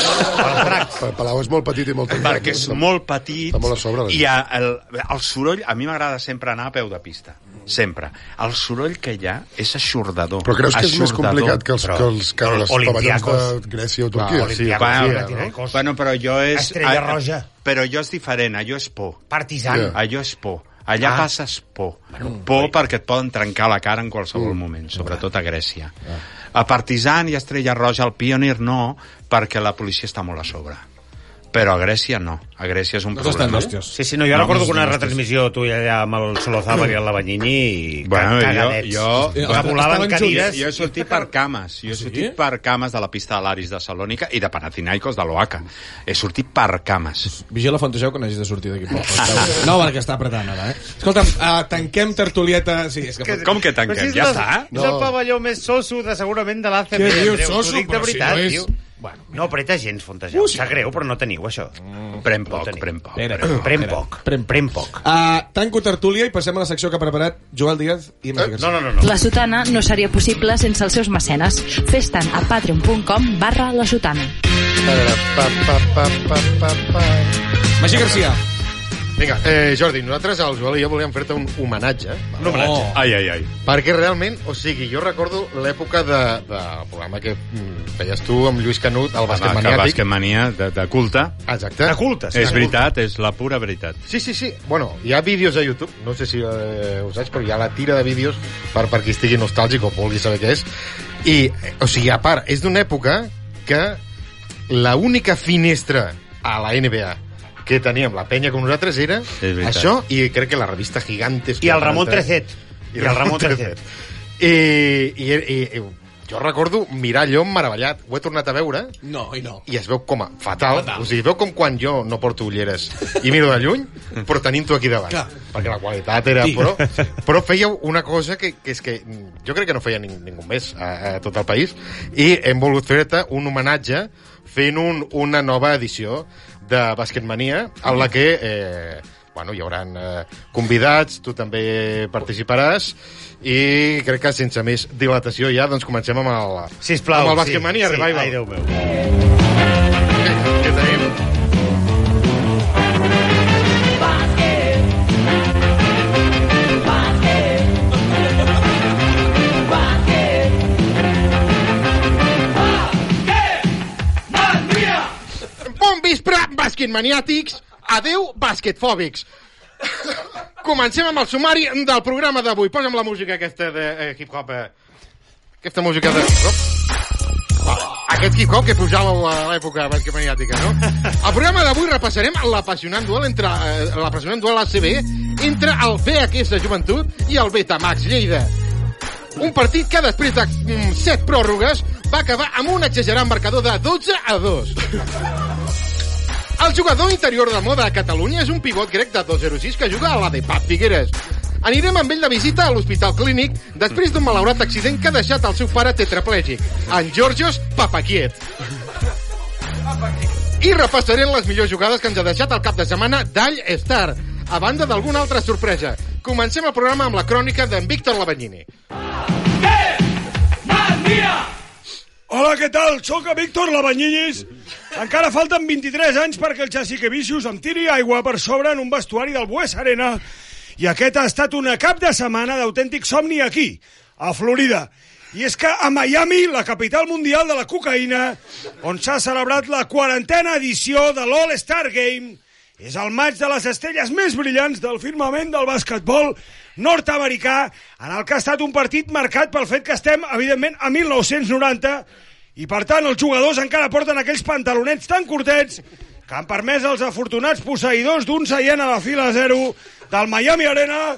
S2: Pa- Palau és molt petit i molt tancat.
S7: perquè és molt petit
S2: Està molt a sobre, la
S7: i a, el, el soroll, a mi m'agrada sempre anar a peu de pista, sempre el soroll que hi ha és aixordador
S2: Però creus que és més
S7: Aixordador.
S2: complicat que els, que els, que els pavellons
S6: Olympiacos.
S2: de Grècia o Turquia?
S6: Clar,
S2: sí.
S6: Olympiacos.
S7: bueno,
S6: Panathinaikos.
S7: bueno, però jo és
S6: Estrella
S7: a-
S6: Roja.
S7: però jo és diferent, allò és por
S6: Partisan.
S2: Ja.
S7: allò és por Allà
S6: Ah.
S7: ah. passes por. por perquè et poden trencar la cara en qualsevol
S2: Mm.
S7: moment, sobretot
S6: Ah.
S7: a Grècia.
S2: Ah.
S7: A Partizan i Estrella Roja, al Pioneer no, perquè la policia està molt a sobre. però a Grècia no. A Grècia és un
S4: Tots estan
S7: problema.
S4: d'hòsties.
S8: Sí, sí, no, jo no, recordo
S7: no,
S8: que una
S7: no,
S8: retransmissió tu allà amb el Solozaba i el Lavanyini i ca-
S7: Bueno, jo,
S8: cagadets.
S7: jo,
S4: Eh,
S8: Que volaven
S4: estaven junts.
S7: jo,
S8: cadires.
S7: jo he Ah, sortit per cames. Jo he sortit per cames de la pista de l'Aris de Salònica i de Panathinaikos de l'Oaca. He sortit per cames.
S4: Vigila Fontejau que n'hagis de sortir d'aquí poc. No, perquè està apretant ara, eh? Escolta'm, uh, tanquem tertulieta... Sí, és que...
S7: Com que
S8: Però si
S7: tanquem?
S8: és
S7: Ja
S8: la-
S7: està?
S8: És el pavelló més soso de, segurament de l'ACB.
S4: Què dius,
S8: Andreu, t'ho
S4: soso?
S8: dic de
S4: Però si
S8: veritat,
S4: no és-
S8: tio. Bueno, no apreta gens, Fontejau. Sap greu, però no teniu això.
S7: Pren
S8: No
S7: poc,
S8: tenim.
S7: pren poc.
S4: Espera.
S7: pren poc.
S8: Pren
S4: espera.
S8: poc,
S4: Pren
S8: pren,
S4: poc.
S8: poc.
S4: Uh, tanco tertúlia i passem a la secció que ha preparat Joel Díaz i Magí Garcia.
S8: No, no, no, no.
S1: La Sotana no seria possible sense els seus mecenes. Fes-te'n a patreon.com barra la Sotana.
S4: Magí Garcia.
S3: Vinga, eh, Jordi, nosaltres, el Joel i jo, volíem fer-te un homenatge.
S8: Un homenatge.
S4: Oh.
S7: Ai, ai, ai.
S3: Perquè realment, o sigui, jo recordo l'època de, del programa que mm, feies tu amb Lluís Canut, el bàsquet
S7: Ah, Que
S3: maniàtic.
S7: basquetmania de, de culte.
S3: Exacte.
S8: De cultes.
S7: És
S8: de
S7: veritat, és la pura veritat.
S3: Sí, sí, sí. Bueno, hi ha vídeos a YouTube, no sé si eh, ho saps, però hi ha la tira de vídeos per, per qui estigui nostàlgic o vulgui saber què és. I, eh, o sigui, a part, és d'una època que la única finestra a la NBA que teníem la penya com nosaltres era
S7: veritat.
S3: això i crec que la revista Gigantes
S8: I el Ramon Trecet. I el Ramon Trecet.
S3: I, i, i, i jo recordo mirar allò meravellat ho he tornat a veure
S4: No, i no.
S3: i es veu com a fatal.
S4: Fatal.
S3: fatal. O sigui, es veu com quan jo no porto ulleres i miro de lluny, però tenint-ho aquí davant.
S4: Clar.
S3: Perquè la qualitat era...
S4: Sí.
S3: Però, però fèieu una cosa que, que és que mm, jo crec que no feia ning ningú més a, a tot el país i hem volgut fer-te un homenatge fent un, una nova edició de Basketmania en la que... Eh, bueno, hi haurà eh, convidats, tu també participaràs i crec que sense més dilatació ja doncs comencem amb el,
S8: Sisplau.
S3: amb el Basketmania
S8: sí,
S3: Revival.
S8: Ai, Déu meu.
S3: que tenim. Bon vespre, bàsquet maniàtics. Adeu, basquetfòbics. Comencem amb el sumari del programa d'avui. Posa'm la música aquesta de eh, hip-hop. Eh. Aquesta música de... Op. Aquest hip hop que pujava a l'època bàsquet maniàtica, no? Al programa d'avui repassarem l'apassionant duel entre eh, l'apassionant duel ACB entre el BHS Joventut i el Betamax Lleida. Un partit que després de mm, set pròrrogues va acabar amb un exagerant marcador de 12 a 2. El jugador interior de moda a Catalunya és un pivot grec de 206 que juga a la de Pat Figueres. Anirem amb ell de visita a l'Hospital Clínic després d'un malaurat accident que ha deixat el seu pare tetraplègic, en Georgios Papaquiet. I repassarem les millors jugades que ens ha deixat el cap de setmana d'All Star, a banda d'alguna altra sorpresa. Comencem el programa amb la crònica d'en Víctor Lavanyini.
S6: Hola, què tal? Sóc a Víctor Labanyinis. Encara falten 23 anys perquè el Jessica Vicious em tiri aigua per sobre en un vestuari del Bues Arena. I aquest ha estat una cap de setmana d'autèntic somni aquí, a Florida. I és que a Miami, la capital mundial de la cocaïna, on s'ha celebrat la quarantena edició de l'All-Star Game, és el maig de les estrelles més brillants del firmament del bàsquetbol nord-americà, en el que ha estat un partit marcat pel fet que estem, evidentment, a 1990, i per tant els jugadors encara porten aquells pantalonets tan curtets que han permès als afortunats posseïdors d'un seient a la fila 0 del Miami Arena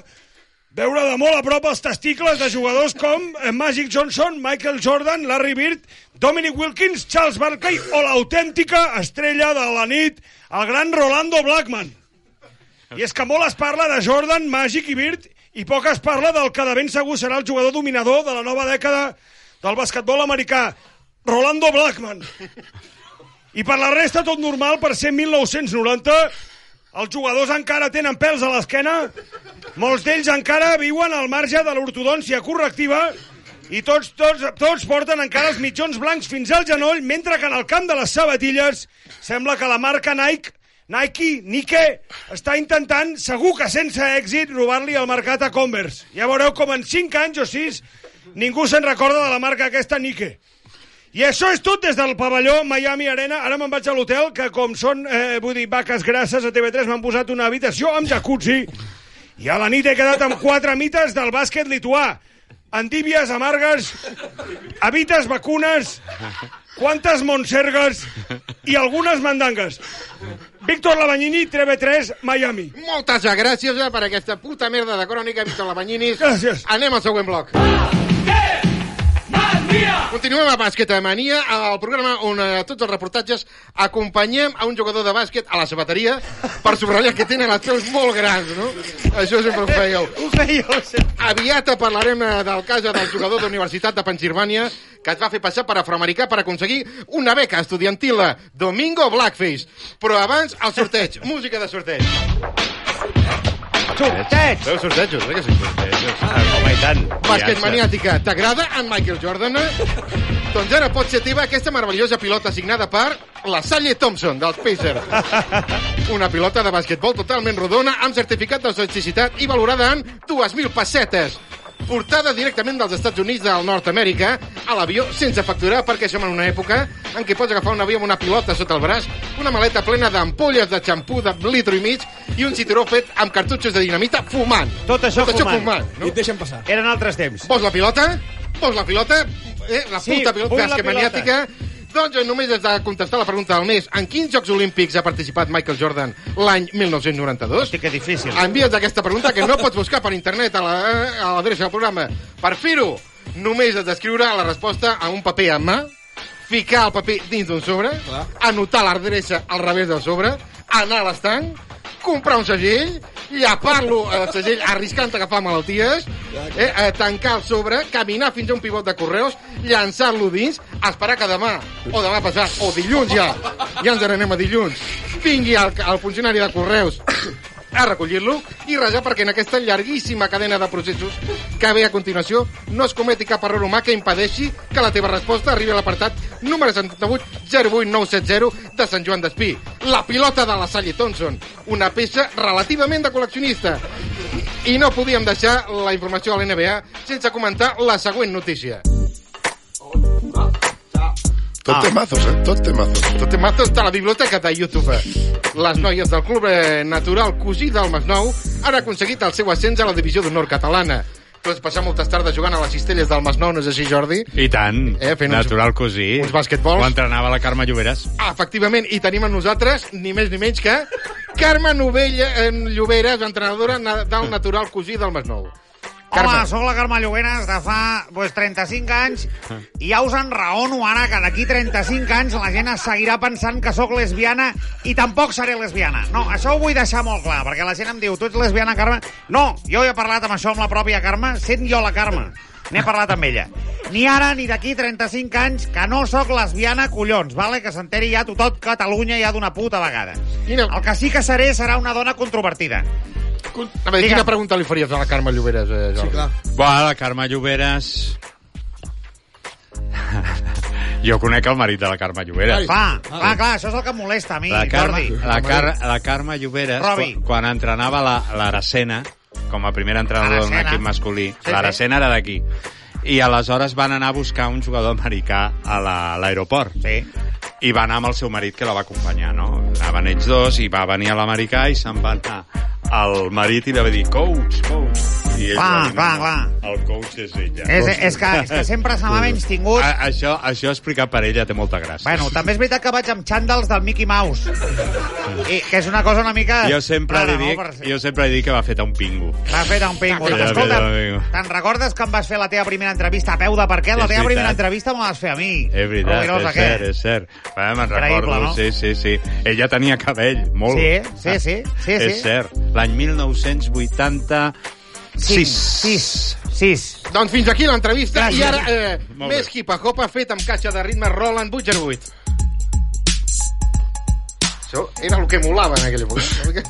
S6: veure de molt a prop els testicles de jugadors com eh, Magic Johnson, Michael Jordan, Larry Bird, Dominic Wilkins, Charles Barkley o l'autèntica estrella de la nit, el gran Rolando Blackman. I és que molt es parla de Jordan, Magic i Bird i poc es parla del que de ben segur serà el jugador dominador de la nova dècada del basquetbol americà, Rolando Blackman. I per la resta tot normal per ser 1990. Els jugadors encara tenen pèls a l'esquena, molts d'ells encara viuen al marge de l'ortodòncia correctiva i tots, tots, tots porten encara els mitjons blancs fins al genoll, mentre que en el camp de les sabatilles sembla que la marca Nike Nike, Nike, està intentant, segur que sense èxit, robar-li el mercat a Converse. Ja veureu com en 5 anys o 6 ningú se'n recorda de la marca aquesta Nike. I això és tot des del pavelló Miami Arena. Ara me'n vaig a l'hotel, que com són, eh, vull dir, vaques grasses a TV3, m'han posat una habitació amb jacuzzi. I a la nit he quedat amb quatre mites del bàsquet lituà. Endívies amargues, habites vacunes,
S9: quantes Montsergues i algunes mandangues. Víctor Labanyini, TV3, Miami.
S3: Moltes gràcies ja per aquesta puta merda de crònica, Víctor Lamanyinis.
S9: Gràcies.
S3: Anem al següent bloc. Continuem a Bàsquet a Mania, el programa on a tots els reportatges acompanyem a un jugador de bàsquet a la sabateria per subratllar que tenen les peus molt grans, no? Això sempre ho fèieu.
S6: Ho fèieu sempre.
S3: Aviat parlarem eh, del cas del jugador d'Universitat de Pensilvània que es va fer passar per afroamericà per aconseguir una beca estudiantil a Domingo Blackface. Però abans, el sorteig. Música de sorteig.
S6: Sorteig!
S3: Veus sortejos, eh? Que sí.
S7: Home, i tant.
S3: Bàsquet
S7: Viatge.
S3: maniàtica. T'agrada en Michael Jordan? *laughs* doncs ara pot ser teva aquesta meravellosa pilota signada per la Salle Thompson,
S6: *laughs*
S3: dels Pacers. Una pilota de basquetbol totalment rodona, amb certificat d'autenticitat i valorada en 2.000 pessetes. Portada directament dels Estats Units del Nord-Amèrica a l'avió sense facturar perquè som en una època en què pots agafar un avió amb una pilota sota el braç, una maleta plena d'ampolles de xampú de litro i mig i un cituró fet amb cartutxos de dinamita fumant.
S6: Tot això fumant.
S3: no?
S4: I et deixen passar.
S6: Eren altres temps.
S3: Vols la pilota? Vols la pilota? Eh, la
S6: Sí,
S3: puta
S6: vull
S3: pilota
S6: la
S3: basca maniàtica. Doncs eh, només has de contestar la pregunta del mes. En quins Jocs Olímpics ha participat Michael Jordan l'any 1992?
S6: Hosti, que difícil.
S3: Envia'ns aquesta pregunta que no pots buscar per internet a la- a l'adreça del programa. Per fer-ho, només has d'escriure la resposta a un paper a mà, ficar el paper dins d'un sobre,
S4: Clar.
S3: anotar l'adreça al revés del sobre, anar a l'estanc, comprar un segell, llapar-lo al segell arriscant agafar malalties, eh, eh, tancar el sobre, caminar fins a un pivot de correus, llançar-lo dins, esperar que demà, o demà passat, o dilluns ja, ja ens n'anem a dilluns, vingui el, el funcionari de correus a recollir-lo i resar perquè en aquesta llarguíssima cadena de processos que ve a continuació no es cometi cap error humà que impedeixi que la teva resposta arribi a l'apartat número 78 08970 de Sant Joan d'Espí. La pilota de la Sally Thompson, una peça relativament de col·leccionista. I no podíem deixar la informació a l'NBA sense comentar la següent notícia.
S2: Tot
S7: Ah.
S2: té mazos, eh? Tot té mazos.
S3: Tot hem tot a la biblioteca de YouTube. Les noies del Club eh, Natural Cosí del Masnou han aconseguit el seu ascens a la divisió d'honor catalana. Tu has passat moltes tardes jugant a les cistelles del Masnou, no és així, Jordi?
S7: I tant.
S3: Eh, fent uns-
S7: Natural cosí.
S3: uns basquetbols.
S7: Ho entrenava la Carme Lloberes.
S3: Ah, efectivament, i tenim amb nosaltres ni més ni menys que Carme Novella, eh, Lloberes, entrenadora na- del Natural Cosí del Masnou.
S6: Hola, sóc la Carme Llogueres de fa pues, 35 anys i ja us enraono ara que d'aquí 35 anys la gent es seguirà pensant que sóc lesbiana i tampoc seré lesbiana. No, això ho vull deixar molt clar, perquè la gent em diu, tu ets lesbiana, Carme? No, jo he parlat amb això amb la pròpia Carme, sent jo la Carme. N'he parlat amb ella. Ni ara ni d'aquí 35 anys que no sóc lesbiana, collons, vale? que s'enteri ja tothom Catalunya ja d'una puta vegada.
S3: Quina-
S6: El que sí que seré serà una dona controvertida.
S3: A veure, quina
S6: Digue'm.
S3: pregunta li faries a la Carme Lloberes, eh, Jordi? Sí, clar.
S7: Va, la Carme Lloberes... *laughs* jo conec el marit de la Carme Lloberes.
S6: Clar, clar, clar, això és el que em molesta a mi,
S7: Ah, La, Car
S6: Jordi.
S7: la, Car la Carme Lloberes,
S6: Robi.
S7: quan, quan entrenava la- l'Aracena, com a primera entrenadora d'un
S6: Aracena.
S7: equip masculí,
S6: Sí,
S7: l'Aracena era d'aquí, i aleshores van anar a buscar un jugador americà a la- a l'aeroport. La,
S6: Sí.
S7: i va anar amb el seu marit que la va acompanyar, no? Anaven ells dos i va venir a l'americà i se'n va anar al marit i li va dir coach, coach. I ell
S6: Clar,
S7: va dir,
S6: clar, clar.
S7: El coach és ella.
S6: És, és, que, és que sempre se m'ha menys tingut.
S7: A, això, això explicat per ella té molta gràcia.
S6: Bueno, també és veritat que vaig amb xandals del Mickey Mouse. I, que és una cosa una mica...
S7: jo sempre,
S6: rara,
S7: li dic,
S6: No? Per-
S7: jo sempre li dic que va fet un pingo.
S6: M'ha fet un pingo.
S7: Ja,
S6: Escolta,
S7: ja, ja, ja.
S6: te'n recordes que em vas fer la teva primera entrevista a peu de parquet? La
S7: És
S6: teva primera
S7: veritat.
S6: entrevista me la vas fer a mi.
S7: És veritat,
S6: Rovirós,
S7: és
S6: aquest.
S7: cert, és cert. Va, me'n
S6: Increïble,
S7: recordo,
S6: no?
S7: sí, sí, sí. Ella tenia cabell, molt.
S6: Sí, sí, sí, sí,
S7: és
S6: sí.
S7: cert. L'any 1986.
S6: Cinc, sis, sis.
S3: Doncs fins aquí l'entrevista i
S6: Gràcies.
S3: ara eh,
S7: Molt bé.
S3: més hip-hop fet amb caixa de ritme Roland 808. Això era el que molava en aquella
S7: *laughs*
S3: època.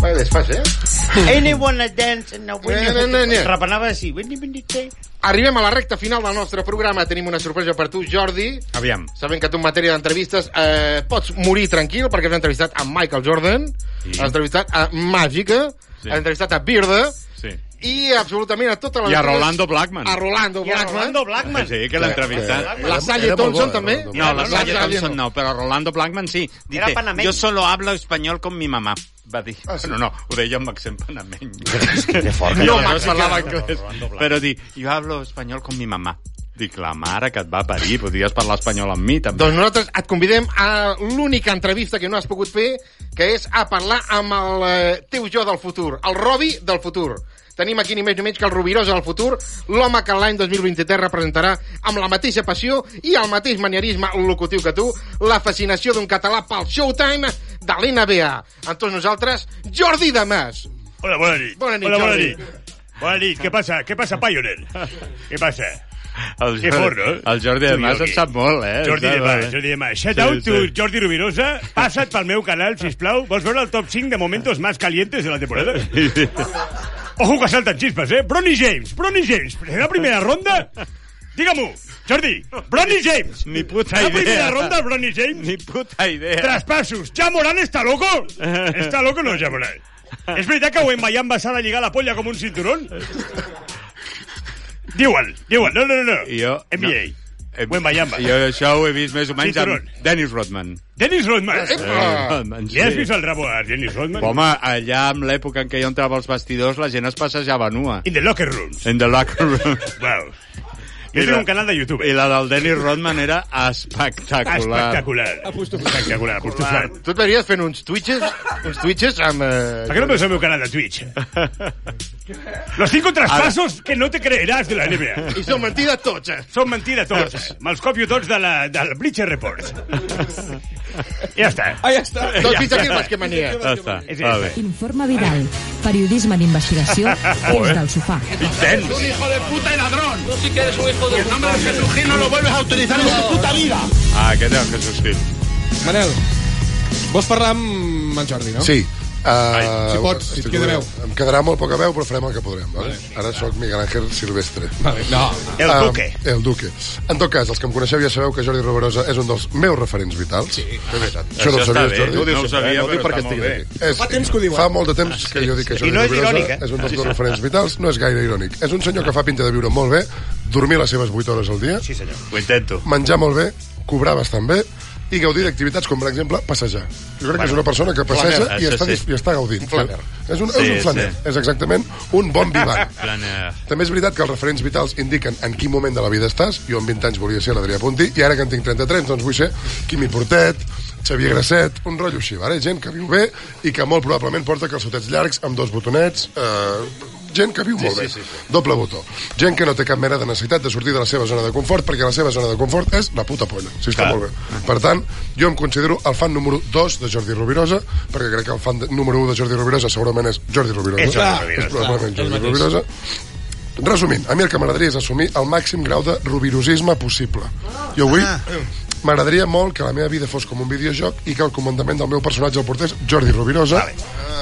S3: Vaya desfase, eh?
S6: Anyone dance in the
S3: window? No, no, no, no.
S6: Repenava així. Winnie, winnie, winnie.
S3: Arribem a la recta final del nostre programa. Tenim una sorpresa per tu, Jordi.
S7: Aviam.
S3: Sabem que tu en matèria d'entrevistes eh, pots morir tranquil perquè has entrevistat a Michael Jordan,
S7: Sí.
S3: has entrevistat a Màgica,
S7: Sí.
S3: has entrevistat a Birda
S7: Sí.
S3: i absolutament a tota la...
S7: I a Rolando Blackman.
S3: A Rolando
S6: I a
S3: Blackman.
S6: Rolando Blackman.
S7: Sí, que l'ha entrevistat.
S3: La Salle
S2: Era molt
S3: Thompson
S2: bo,
S3: també.
S2: Rolando
S7: No, la
S3: No,
S7: Sally
S3: la Sally
S7: Thompson
S3: no.
S7: no, però Rolando Blackman sí. Dice,
S6: Era panameño.
S7: yo solo hablo español con mi mamá, va dir. Ah, sí. No, no, ho deia amb accent
S6: *laughs*
S7: panameny. Que fort.
S3: No,
S7: No, no
S3: mexicà.
S7: parlava anglès. Però di, yo hablo español con mi mamá. Dic, la mare que et va parir, podries parlar espanyol amb mi, també.
S3: Doncs nosaltres et convidem a l'única entrevista que no has pogut fer, que és a parlar amb el eh, teu jo del futur, el Robi del futur. Tenim aquí ni més ni menys que el Rubirós del futur, l'home que l'any 2023 representarà amb la mateixa passió i el mateix manierisme locutiu que tu, la fascinació d'un català pel Showtime de l'NBA. Amb tots nosaltres, Jordi Damas.
S9: Hola, bona nit.
S3: Bona nit,
S9: Hola, bona
S3: Jordi.
S9: nit. Bona nit. Què passa? Què passa, Pioneer? Què passa?
S7: El
S9: Qué forro, eh?
S7: El Jordi de
S9: Tu,
S7: Mas
S9: Jordi.
S7: et sap molt, eh?
S9: Jordi
S7: Em
S9: de
S7: sap
S9: Mar,
S7: molt, eh?
S9: Jordi de Mar. Shout
S7: Sí,
S9: out to
S7: sí.
S9: Jordi Rubirosa. Passa't pel meu canal, sisplau. Vols veure el top 5 de momentos más calientes de la temporada? Ojo que *laughs* salten xispes, eh? Bronny James, Bronny James. La primera ronda? Digue-m'ho, Jordi. Bronny James.
S7: Ni puta
S9: La
S7: idea.
S9: primera ronda, Bronny James.
S7: Ni puta idea.
S9: Traspassos. Ja Morant està
S7: *laughs*
S9: loco? Està loco no, Ja Morant? És veritat que Wembayam va s'ha de lligar la polla com un
S7: *laughs*
S9: cinturón? Diuen, diuen, no, no, no, no.
S7: Jo-
S9: NBA.
S7: Eh,
S9: Wembayam.
S7: Jo això ho he vist més o menys
S9: Cinturón.
S7: amb Dennis Rodman.
S9: Dennis Rodman.
S2: Eh.
S3: Epa!
S7: Rodman,
S9: Li has vist el rabo a Dennis Rodman?
S7: Eh, Home, allà, en l'època en què jo entrava als vestidors, la gent es passejava nua.
S9: In the locker rooms.
S7: In the locker room.
S9: Wow.
S7: *laughs*
S9: Jo tinc un canal de YouTube.
S7: I la del Dennis Rodman era espectacular.
S9: Espectacular.
S4: Apostofat.
S9: Espectacular, apostofat.
S3: Tu et veuries fent uns twitches, uns twitches amb... Eh,
S9: ¿Para qué no ves el meu canal de
S7: *laughs*
S9: Twitch? Los cinco traspasos que no te creerás de la NBA.
S3: I són mentides tots, eh?
S9: Són mentida tots.
S7: *laughs*
S9: Me'ls copio tots de la, del Bleacher Report. Ja està.
S4: Ah, ja està.
S3: Doncs fins aquí el basquemania.
S7: Ja està.
S9: És- és-
S7: Va bé.
S1: Informe Vidal. Periodisme d'investigació des del sofà.
S7: Ah, aquest és el que subscriu.
S4: Doncs, Manel, vols parlar amb en Jordi, no?
S2: Sí. Uh, Ai,
S4: si pots, si et queda veu.
S2: Em quedarà molt poca veu, però farem el que podrem. Vale? Ara sóc Miguel Ángel Silvestre.
S4: Vale. No,
S9: El
S2: Ah,
S9: Duque.
S2: el Duque. En tot cas, els que em coneixeu ja sabeu que Jordi Roberosa és un dels meus referents vitals. Sí, Això no ho
S7: Això està
S2: sabies,
S7: bé,
S2: Jordi?
S7: no ho
S2: Dius,
S7: sabia,
S2: eh? ho diu
S7: però
S2: perquè
S7: està
S2: estic
S7: molt
S2: aquí. És,
S4: Fa temps que ho eh? diuen.
S2: Fa molt de temps que jo dic que Jordi
S6: I no és
S2: Roberosa
S6: irònic, eh?
S2: és un dels meus referents vitals. No és gaire irònic. És un senyor que fa pinta de viure molt bé, dormir les seves 8 hores al dia,
S6: Sí, senyor.
S7: Ho intento.
S2: menjar molt bé, cobrar bastant bé i gaudir d'activitats com, per exemple, passejar. Jo crec que és una persona que passeja
S7: flaner,
S2: i
S7: això
S2: està,
S7: sí.
S2: dis- i està gaudint.
S3: flaner.
S2: És un,
S7: Sí,
S2: és un flaner.
S7: sí.
S2: És exactament un bon vivant.
S7: Plan, eh,
S2: També és veritat que els referents vitals indiquen en quin moment de la vida estàs. Jo amb 20 anys volia ser l'Adrià Puntí i ara que en tinc 33 doncs vull ser Quimi Portet, Xavier Grasset, un rotllo així. Vale? Gent que viu bé i que molt probablement porta calçotets llargs amb dos botonets... Eh, gent que viu molt bé. Sí, sí, sí. Doble botó. Gent que no té cap mena de necessitat de sortir de la seva zona de confort perquè la seva zona de confort és la puta polla. Sí, està
S7: Clar.
S2: molt bé. Per tant, jo em considero el fan número 2 de Jordi Rovirosa perquè crec que el fan de, número 1 de Jordi Rovirosa segurament és Jordi Rovirosa.
S9: És Jordi Rovirosa.
S2: És probablement
S4: Clar,
S2: Jordi
S4: el mateix.
S2: Rovirosa. Resumint, a mi el que m'agradaria és assumir el màxim grau de rubirosisme possible. Jo vull... M'agradaria molt que la meva vida fos com un videojoc i que el comandament del meu personatge el portés Jordi Rovirosa,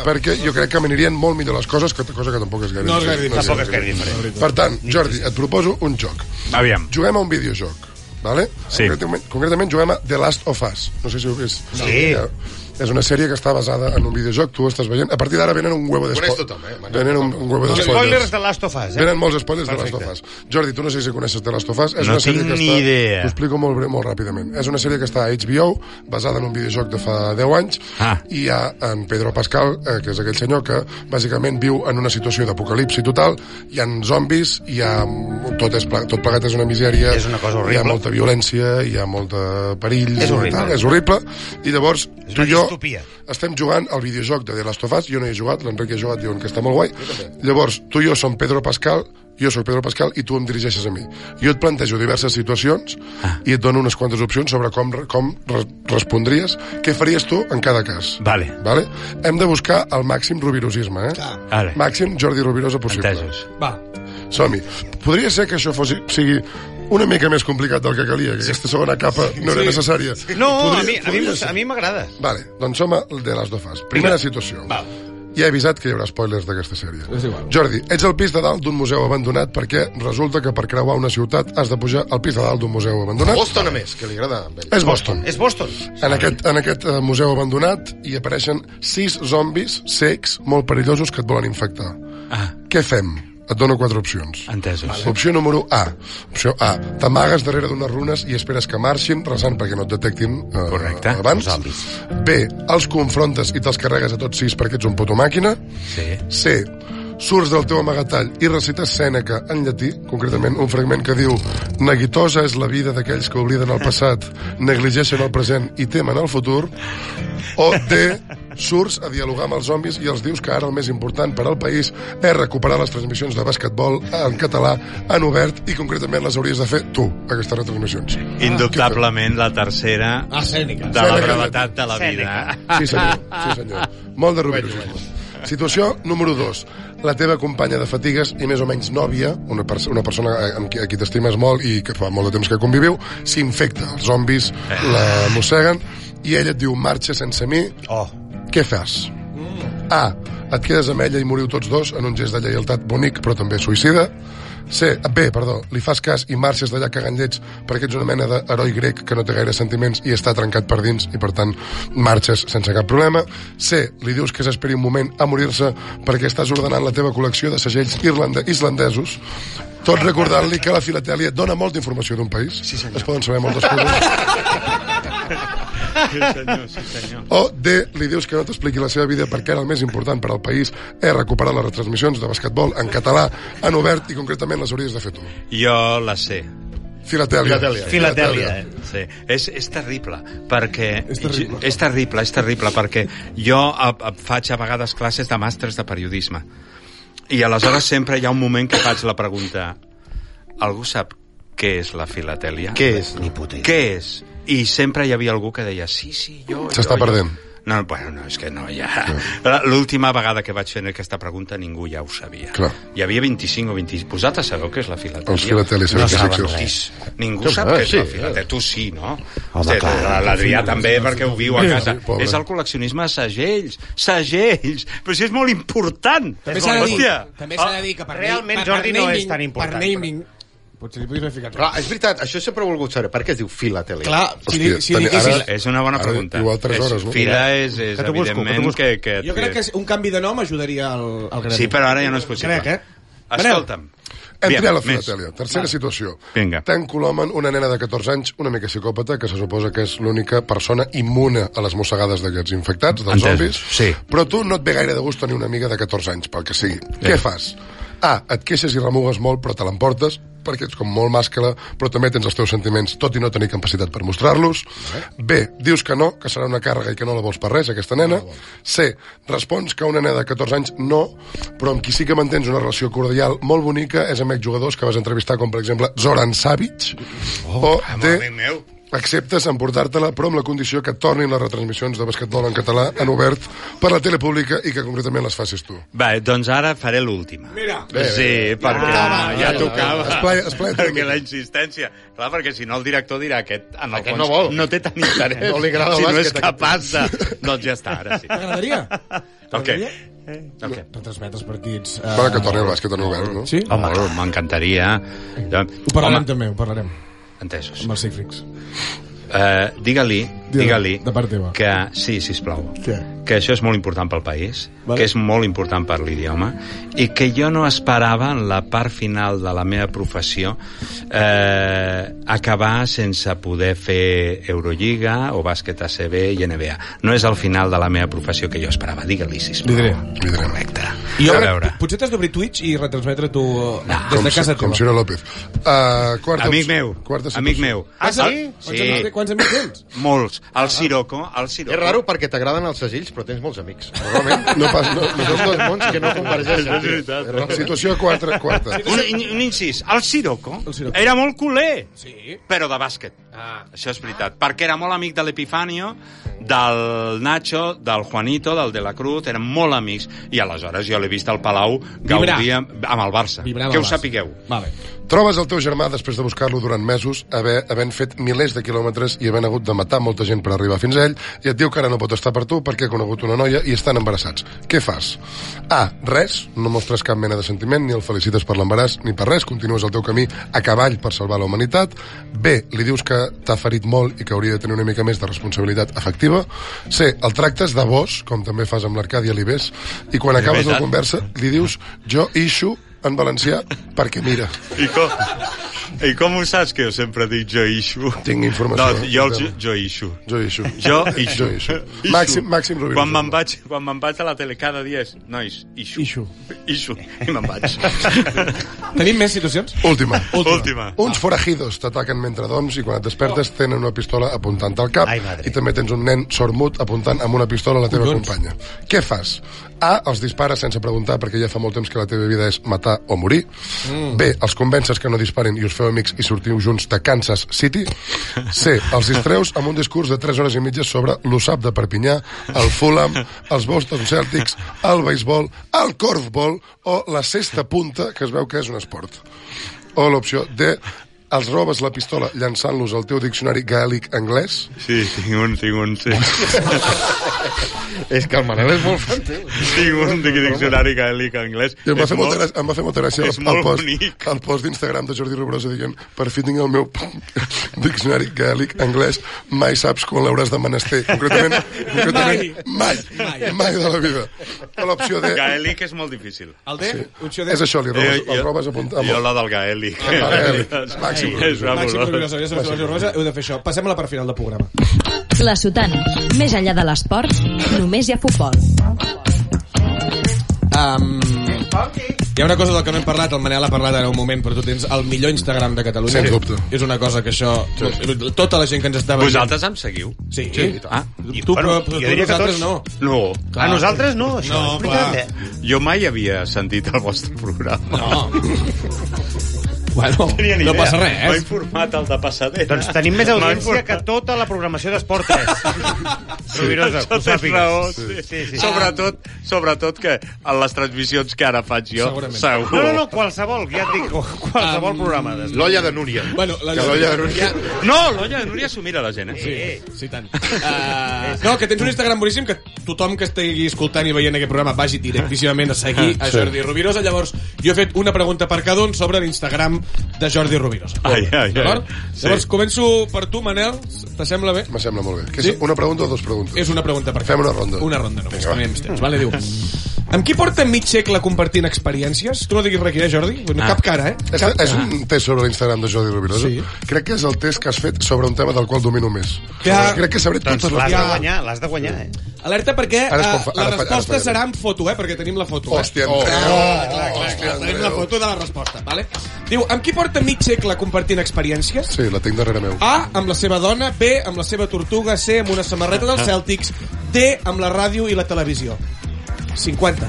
S2: perquè jo crec que m'anirien molt millor les coses, que cosa que tampoc és gaire
S4: No és gaire
S2: difícil.
S6: Tampoc és gaire diferent.
S2: Per tant, Jordi, et proposo un joc.
S7: Aviam.
S2: Juguem a un videojoc, vale?
S7: Sí.
S2: Concretament, concretament juguem a The Last of Us. No sé si ho heu vist.
S6: Sí.
S2: És una sèrie que està basada en un videojoc, tu ho estàs veient. A partir d'ara venen un huevo de
S3: Coneix
S2: spo-
S3: tothom, eh, Manel?
S2: Venen un, un huevo de
S6: Spoilers de Last of Us, eh?
S2: Venen molts spoilers de Last of Us. Jordi, tu no sé si coneixes de Last of Us. És
S7: No
S2: una sèrie
S7: tinc
S2: que
S7: ni
S2: està...
S7: idea.
S2: T'ho explico molt, breu, molt ràpidament. És una sèrie que està a HBO, basada en un videojoc de fa 10 anys,
S7: Ah.
S2: i hi ha en Pedro Pascal, eh, que és aquell senyor que bàsicament viu en una situació d'apocalipsi total, hi han zombis, hi ha... tot, és ple... tot plegat és una misèria,
S6: És una
S2: hi
S6: cosa
S2: ha
S6: horrible.
S2: molta violència, hi ha molta perill...
S6: És horrible.
S2: i tal. És horrible. I llavors,
S6: És
S2: tu
S6: una
S2: i jo
S6: distopia.
S2: estem jugant al videojoc de The Last of Us, jo no hi he jugat, l'Enric hi ha jugat, diuen que està molt guai. Llavors, tu i jo som Pedro Pascal, jo sóc Pedro Pascal i tu em dirigeixes a mi. Jo et plantejo diverses situacions i et dono unes quantes opcions sobre com, re- com re respondries, què faries tu en cada cas.
S7: Vale.
S2: Vale? Hem de buscar el màxim rubirosisme, eh?
S7: Vale.
S2: Màxim Jordi Rubirosa possible.
S7: Entesos.
S4: va.
S2: Som-hi. Podria ser que això fos, sigui una mica més complicat del que calia, que aquesta segona capa no era necessària.
S6: No,
S2: Podria-
S6: a mi, a mi,
S2: podria
S6: m'ho-
S2: ser.
S6: a mi m'agrada.
S2: Vale, doncs som a de les dues fas. Primera situació. Va. Ja he avisat que hi haurà spoilers d'aquesta sèrie.
S4: És igual.
S2: Jordi, ets al pis de dalt d'un museu abandonat perquè resulta que per creuar una ciutat has de pujar al pis de dalt d'un museu abandonat.
S3: Boston, a Tota més, que li agrada a ell.
S2: És Boston.
S6: És Boston.
S2: En aquest, en aquest eh, museu abandonat hi apareixen sis zombis secs molt perillosos que et volen infectar.
S7: Ah,
S2: Què fem? Et dono quatre opcions.
S7: entesos.
S2: Opció número A. Opció A. T'amagues darrere d'unes runes i esperes que marxin, resant perquè no et detectin eh,
S7: Correcte,
S2: abans.
S7: els zombis.
S2: B. Els confrontes i te'ls carregues a tots sis perquè ets un puto màquina.
S7: Sí.
S2: C. surts del teu amagatall i recites Sèneca en llatí, concretament un fragment que diu «Neguitosa és la vida d'aquells que obliden el passat, negligeixen el present i temen el futur», o D, surts a dialogar amb els zombis i els dius que ara el més important per al país és recuperar les transmissions de basquetbol en català, en obert, i concretament les hauries de fer tu, aquestes retransmissions.
S7: Indubtablement la tercera
S4: Escènica.
S7: de la
S2: Sèneca.
S7: brevetat de la
S6: Sèneca.
S7: vida. eh?
S2: Sí, senyor. Sí, senyor. Molt de rubricisme. Situació número 2. La teva companya de fatigues i més o menys nòvia, una, pers una persona a- amb qui, a qui t'estimes molt i que fa molt de temps que conviviu, s'infecta. Els zombis la mosseguen i ella et diu marxa sense mi.
S7: Oh.
S2: Què fas? A. Et quedes amb ella i moriu tots dos en un gest de lleialtat bonic però també suïcida. C. B, ah, perdó, li fas cas i marxes d'allà cagant llets perquè ets una mena d'heroi grec que no té gaire sentiments i està trencat per dins i, per tant, marxes sense cap problema. C. Li dius que s'esperi un moment a morir-se perquè estàs ordenant la teva col·lecció de segells irlande islandesos tot recordant-li que la filatèlia et dona molta informació d'un país. Sí, senyor. Es poden saber moltes coses.
S7: Sí, senyor, sí, senyor.
S2: O D, li dius que no t'expliqui la seva vida perquè ara el més important per al país és recuperar les retransmissions de basquetbol en català, en obert i concretament les hauries de fer tu.
S7: Jo la sé.
S2: Filatèlia.
S3: Filatèlia.
S6: Filatèlia. eh?
S7: Sí. És, és terrible, perquè... És terrible. És terrible, és terrible, perquè jo a, a, faig a vegades classes de màsters de periodisme. I aleshores sempre hi ha un moment que faig la pregunta algú sap què és la filatèlia?
S3: Què és? Ni puta
S7: Què és? I sempre hi havia algú que deia, sí, sí, jo...
S2: S'està
S7: jo, jo."
S2: perdent.
S7: No, bueno, no, és que no, ja... L'última vegada que vaig fer aquesta pregunta ningú ja ho sabia.
S2: Clar.
S7: Hi havia 25 o 26... Vosaltres sabeu què és la filatèlia?
S2: Els filatèlis
S7: no
S2: saben què
S7: saben
S2: és. Ah,
S7: res. Ningú
S3: Tu
S7: sap
S3: saps,
S7: què és
S3: sí,
S7: la
S3: sí.
S7: filatèlia. Tu sí, no? Hòstia, L'Adrià també, perquè ho viu a casa.
S2: sí, pobre.
S7: És el col·leccionisme de segells. Segells! Però si és molt important!
S4: També s'ha de dir,
S7: Hòstia.
S4: també s'ha de dir que per
S6: Realment,
S4: per-
S6: Jordi,
S4: per
S6: no és
S4: naming-
S6: tan important,
S4: Per naming, potser li podies haver ficat
S3: Clar, eh, és veritat, això sempre he volgut saber. Per què es diu filatèlia?
S4: Clar, si, li,
S2: Hòstia,
S4: si
S2: tenia-
S4: diguessis...
S2: ara-
S7: És una bona
S2: Ara,
S7: pregunta.
S2: igual tres
S7: És-
S2: hores, no?
S7: Fila és, és
S6: Que t'ho busco, que t'ho
S7: evidentment
S6: busco.
S7: que... que,
S4: Jo crec que un canvi de nom ajudaria al, al gremi.
S7: Sí, però ara ja no és possible.
S4: Crec, eh?
S7: Escolta'm.
S2: Hem
S7: Aviam,
S2: triat la
S7: més.
S2: filatèlia. Tercera situació.
S7: Vinga.
S2: Tan Colomen, una nena de 14 anys, una mica psicòpata, que se suposa que és l'única persona immune a les mossegades d'aquests infectats, dels
S7: Entès,
S2: zombis.
S7: sí.
S2: Però tu no et ve gaire de gust tenir una amiga de 14 anys, pel que sigui. Què fas? A, et queixes i remugues molt, però te l'emportes, perquè ets com molt màscara, però també tens els teus sentiments, tot i no tenir capacitat per mostrar-los. B, dius que no, que serà una càrrega i que no la vols per res, aquesta nena. C, respons que una nena de 14 anys no, però amb qui sí que mantens una relació cordial molt bonica és amb exjugadors que vas entrevistar, com per exemple Zoran Savic, oh, o D,
S7: amic meu.
S2: acceptes emportar-te-la, però amb la condició que et tornin les retransmissions de basquetbol en català en obert per la tele pública i que concretament les facis tu.
S7: Va, doncs ara faré l'última.
S4: Mira.
S7: Sí, perquè
S3: tocava,
S7: ja
S3: ja
S7: tocava.
S2: tocava. Esplai- esplaia't una
S7: Perquè
S2: mica.
S7: la insistència... Clar, perquè si no el director dirà aquest, en el
S3: Aquest
S7: fons,
S3: no vol.
S7: no té tant interès.
S3: No li agrada el
S7: si no és
S3: bàsquet,
S7: capaç de... doncs ja està, ara sí.
S4: T'agradaria?
S7: Ok.
S4: T'agradaria?
S7: Ok.
S4: Retransmetre els partits... eh,
S2: Bueno, que torni el bàsquet en obert, no?
S4: Sí?
S7: Home, m'encantaria. Jo-
S4: Ho parlarem
S7: Home,
S4: també, ho parlarem.
S7: Entesos.
S4: Amb els Cifrix.
S7: Eh, digue-li,
S4: Digue-li,
S7: digue-li...
S4: de part teva.
S7: Que, sí, sisplau.
S4: Què?
S7: Que això és molt important pel país,
S4: Vale.
S7: que és molt important per l'idioma, i que jo no esperava en la part final de la meva professió eh, acabar sense poder fer Eurolliga o bàsquet ACB i NBA. No és el final de la meva professió que jo esperava. Digue-li, sisplau.
S4: Li diré.
S2: Li diré.
S7: Correcte.
S4: I jo
S7: a
S4: crec,
S7: veure,
S4: potser t'has d'obrir Twitch i retransmetre tu eh, des de casa
S2: si, com
S4: teva.
S2: Ciro López. Uh, quarta,
S7: amic meu,
S2: Quarta situació.
S7: amic meu.
S4: Ah, sí?
S7: El-
S4: Quants amics té- Quants amics tens?
S7: Molts. El Siroco, el Siroco.
S3: És raro perquè t'agraden els segells, però tens molts amics. *laughs* Normalment, no pas, no, no són dos mons que no convergeixen. És veritat.
S2: Situació quarta.
S7: *laughs*
S2: quarta.
S7: Un, in- un incís, el Siroco,
S4: El Siroco.
S7: era molt culer,
S4: Sí.
S7: però de bàsquet. Ah. Això és veritat, perquè era molt amic de l'Epifanio, del Nacho, del Juanito, del De la Cruz, eren molt amics, i aleshores jo l'he vist al Palau
S4: Vibrar.
S7: gaudir amb, amb el Barça.
S4: Vibrava
S7: que ho
S4: el braç.
S7: sapigueu.
S4: Vale.
S2: Trobes el teu germà després de buscar-lo durant mesos, haver, havent fet milers de quilòmetres i havent hagut de matar molta gent per arribar fins a ell, i et diu que ara no pot estar per tu perquè ha conegut una noia i estan embarassats. Què fas? A. Res, no mostres cap mena de sentiment, ni el felicites per l'embaràs, ni per res, continues el teu camí a cavall per salvar la humanitat. B. Li dius que t'ha ferit molt i que hauria de tenir una mica més de responsabilitat afectiva. C. El tractes de vos, com també fas amb l'Arcadi Alibés, i quan acabes la
S7: veritat.
S2: conversa li dius jo ixo en valencià perquè mira.
S7: I com? I com ho saps que jo sempre dic jo ixo?
S2: Tinc informació.
S7: No, jo, els- jo ixo.
S2: Jo ixo.
S7: Jo ixo.
S2: Jo ixo. Màxim- Màxim Rovira.
S7: Quan me'n vaig, quan me'n vaig a la tele cada dia és, nois, ixo.
S4: Ixo.
S7: Ixo. I me'n
S2: *laughs*
S7: vaig.
S4: Tenim més situacions?
S2: Última.
S7: Última.
S2: Uns forajidos t'ataquen mentre dorms i quan et despertes tenen una pistola apuntant al cap
S6: Ai, madre.
S2: i també tens un nen sormut apuntant amb una pistola a la teva
S4: Collons.
S2: companya. Què fas? A. Els dispares sense preguntar perquè ja fa molt temps que la teva vida és matar o morir. Mm. B. Els convences que no disparen i us feu amics i sortiu junts de Kansas City. C. Els distreus amb un discurs de 3 hores i mitja sobre l'USAP de Perpinyà, el Fulham, els Boston Celtics, el béisbol, el corfball o la cesta punta, que es veu que és un esport. O l'opció D, els robes la pistola llançant-los al teu diccionari gaèlic anglès.
S7: Sí, tinc un, tinc un, sí.
S3: És que el Manel és molt fan teu.
S7: tinc
S2: *laughs*
S7: un diccionari gaèlic anglès.
S2: I em va,
S7: És
S2: fer
S7: molt-
S2: molta gràcia, em va fer molta gràcia el,
S7: és molt
S2: el, post,
S7: bonic.
S2: el post d'Instagram de Jordi Robrosa dient per fi tinc el meu *laughs* diccionari gaèlic anglès, mai saps quan l'hauràs de menester.
S4: *laughs*
S2: Concretament, concretament mai. mai, mai, de la vida. O l'opció D,
S7: Gaèlic és molt difícil. Eh,
S4: El D? Opció D?
S2: és això, li robes,
S7: Jo-
S2: els robes apuntant.
S7: Jo la del gaèlic.
S2: gaèlic.
S7: *laughs*
S2: Màxim.
S7: És
S4: Màxim
S7: fabulós.
S4: Gloriosa, ja sabeu que la Jordi Rosa, heu de fer això. Passem a la part final del programa.
S1: La sotana. Més enllà de l'esport, només hi ha futbol.
S4: Um, hi ha una cosa del que no hem parlat, el Manel ha parlat ara un moment, però tu tens el millor Instagram de Catalunya.
S2: Sens dubte.
S4: És una cosa que això... Tota la gent que ens està veient...
S7: Vosaltres em seguiu?
S4: Sí.
S7: Ah,
S4: Tu, però, tu,
S6: jo diria que
S4: nosaltres
S6: tots.
S4: no.
S7: no.
S6: A nosaltres no, això
S4: No,
S6: no, és veritat,
S4: clar.
S6: eh?
S7: Jo mai havia sentit el vostre programa.
S4: No. bueno,
S7: tenia ni
S4: no
S7: idea.
S4: passa
S7: M'ha
S4: res. eh?
S7: informat el de passadera.
S6: Doncs tenim més audiència
S7: informat.
S6: que tota la programació d'Esport 3. Rovirosa, que ho
S7: Això tens raó,
S6: sàpigues.
S7: sí.
S6: Sí, sí.
S7: Ah. Sobretot, sobretot que en les transmissions que ara faig jo,
S4: Segurament.
S7: segur.
S6: No, no, no, qualsevol, ja et dic, qualsevol programa. d'Esport.
S3: L'olla de Núria.
S4: Bueno, la
S3: que l'olla de Núria...
S7: No, l'Olla de Núria s'ho mira la gent, eh?
S4: Sí, sí, *laughs* tant. Uh, no, que tens un Instagram boníssim que tothom que estigui escoltant i veient aquest programa vagi directíssimament a seguir a Jordi Rovirosa. Llavors, jo he fet una pregunta per cada un sobre l'Instagram de Jordi Rovirosa.
S7: Ai, ai, ai.
S4: D'acord?
S7: Sí.
S4: Llavors, començo per tu, Manel. T'assembla bé?
S2: Me sembla molt bé. Que
S4: Sí?
S2: és una pregunta o dues preguntes?
S4: És una pregunta per
S2: Fem una ronda.
S4: Una ronda només.
S2: Vinga, va.
S4: Tenim temps. Vale, diu. Amb qui porta mig segle compartint experiències? Tu no diguis res, aquí, eh, Jordi? No,
S2: Ah.
S4: Cap cara, eh?
S2: És,
S4: Cap...
S2: és un test sobre l'Instagram de Jordi Rovirosa.
S4: Sí.
S2: Sí. Crec que és el test que has fet sobre un tema del qual domino més.
S4: Ja.
S2: Crec que sabré
S6: Doncs
S2: totes les...
S6: l'has de
S4: Ja.
S6: guanyar, l'has de guanyar, eh?
S4: Alerta perquè
S2: Ara es
S4: eh,
S2: confa- ara es
S4: la
S2: fa- ara es
S4: resposta
S2: fa-
S4: serà amb foto, eh? Perquè tenim la foto. eh?
S2: Hòstia, oh, Andreu.
S4: Clar, clar, clar,
S2: Hòstia,
S4: clar, tenim la
S2: Andreu.
S4: foto de la resposta, vale? Diu, amb qui porta mig segle compartint experiències?
S2: Sí, la tinc darrere meu.
S7: Ah,
S4: A, amb la seva dona, B, amb la seva tortuga, C, amb una samarreta dels Celtics, D, amb la ràdio i la televisió. 50.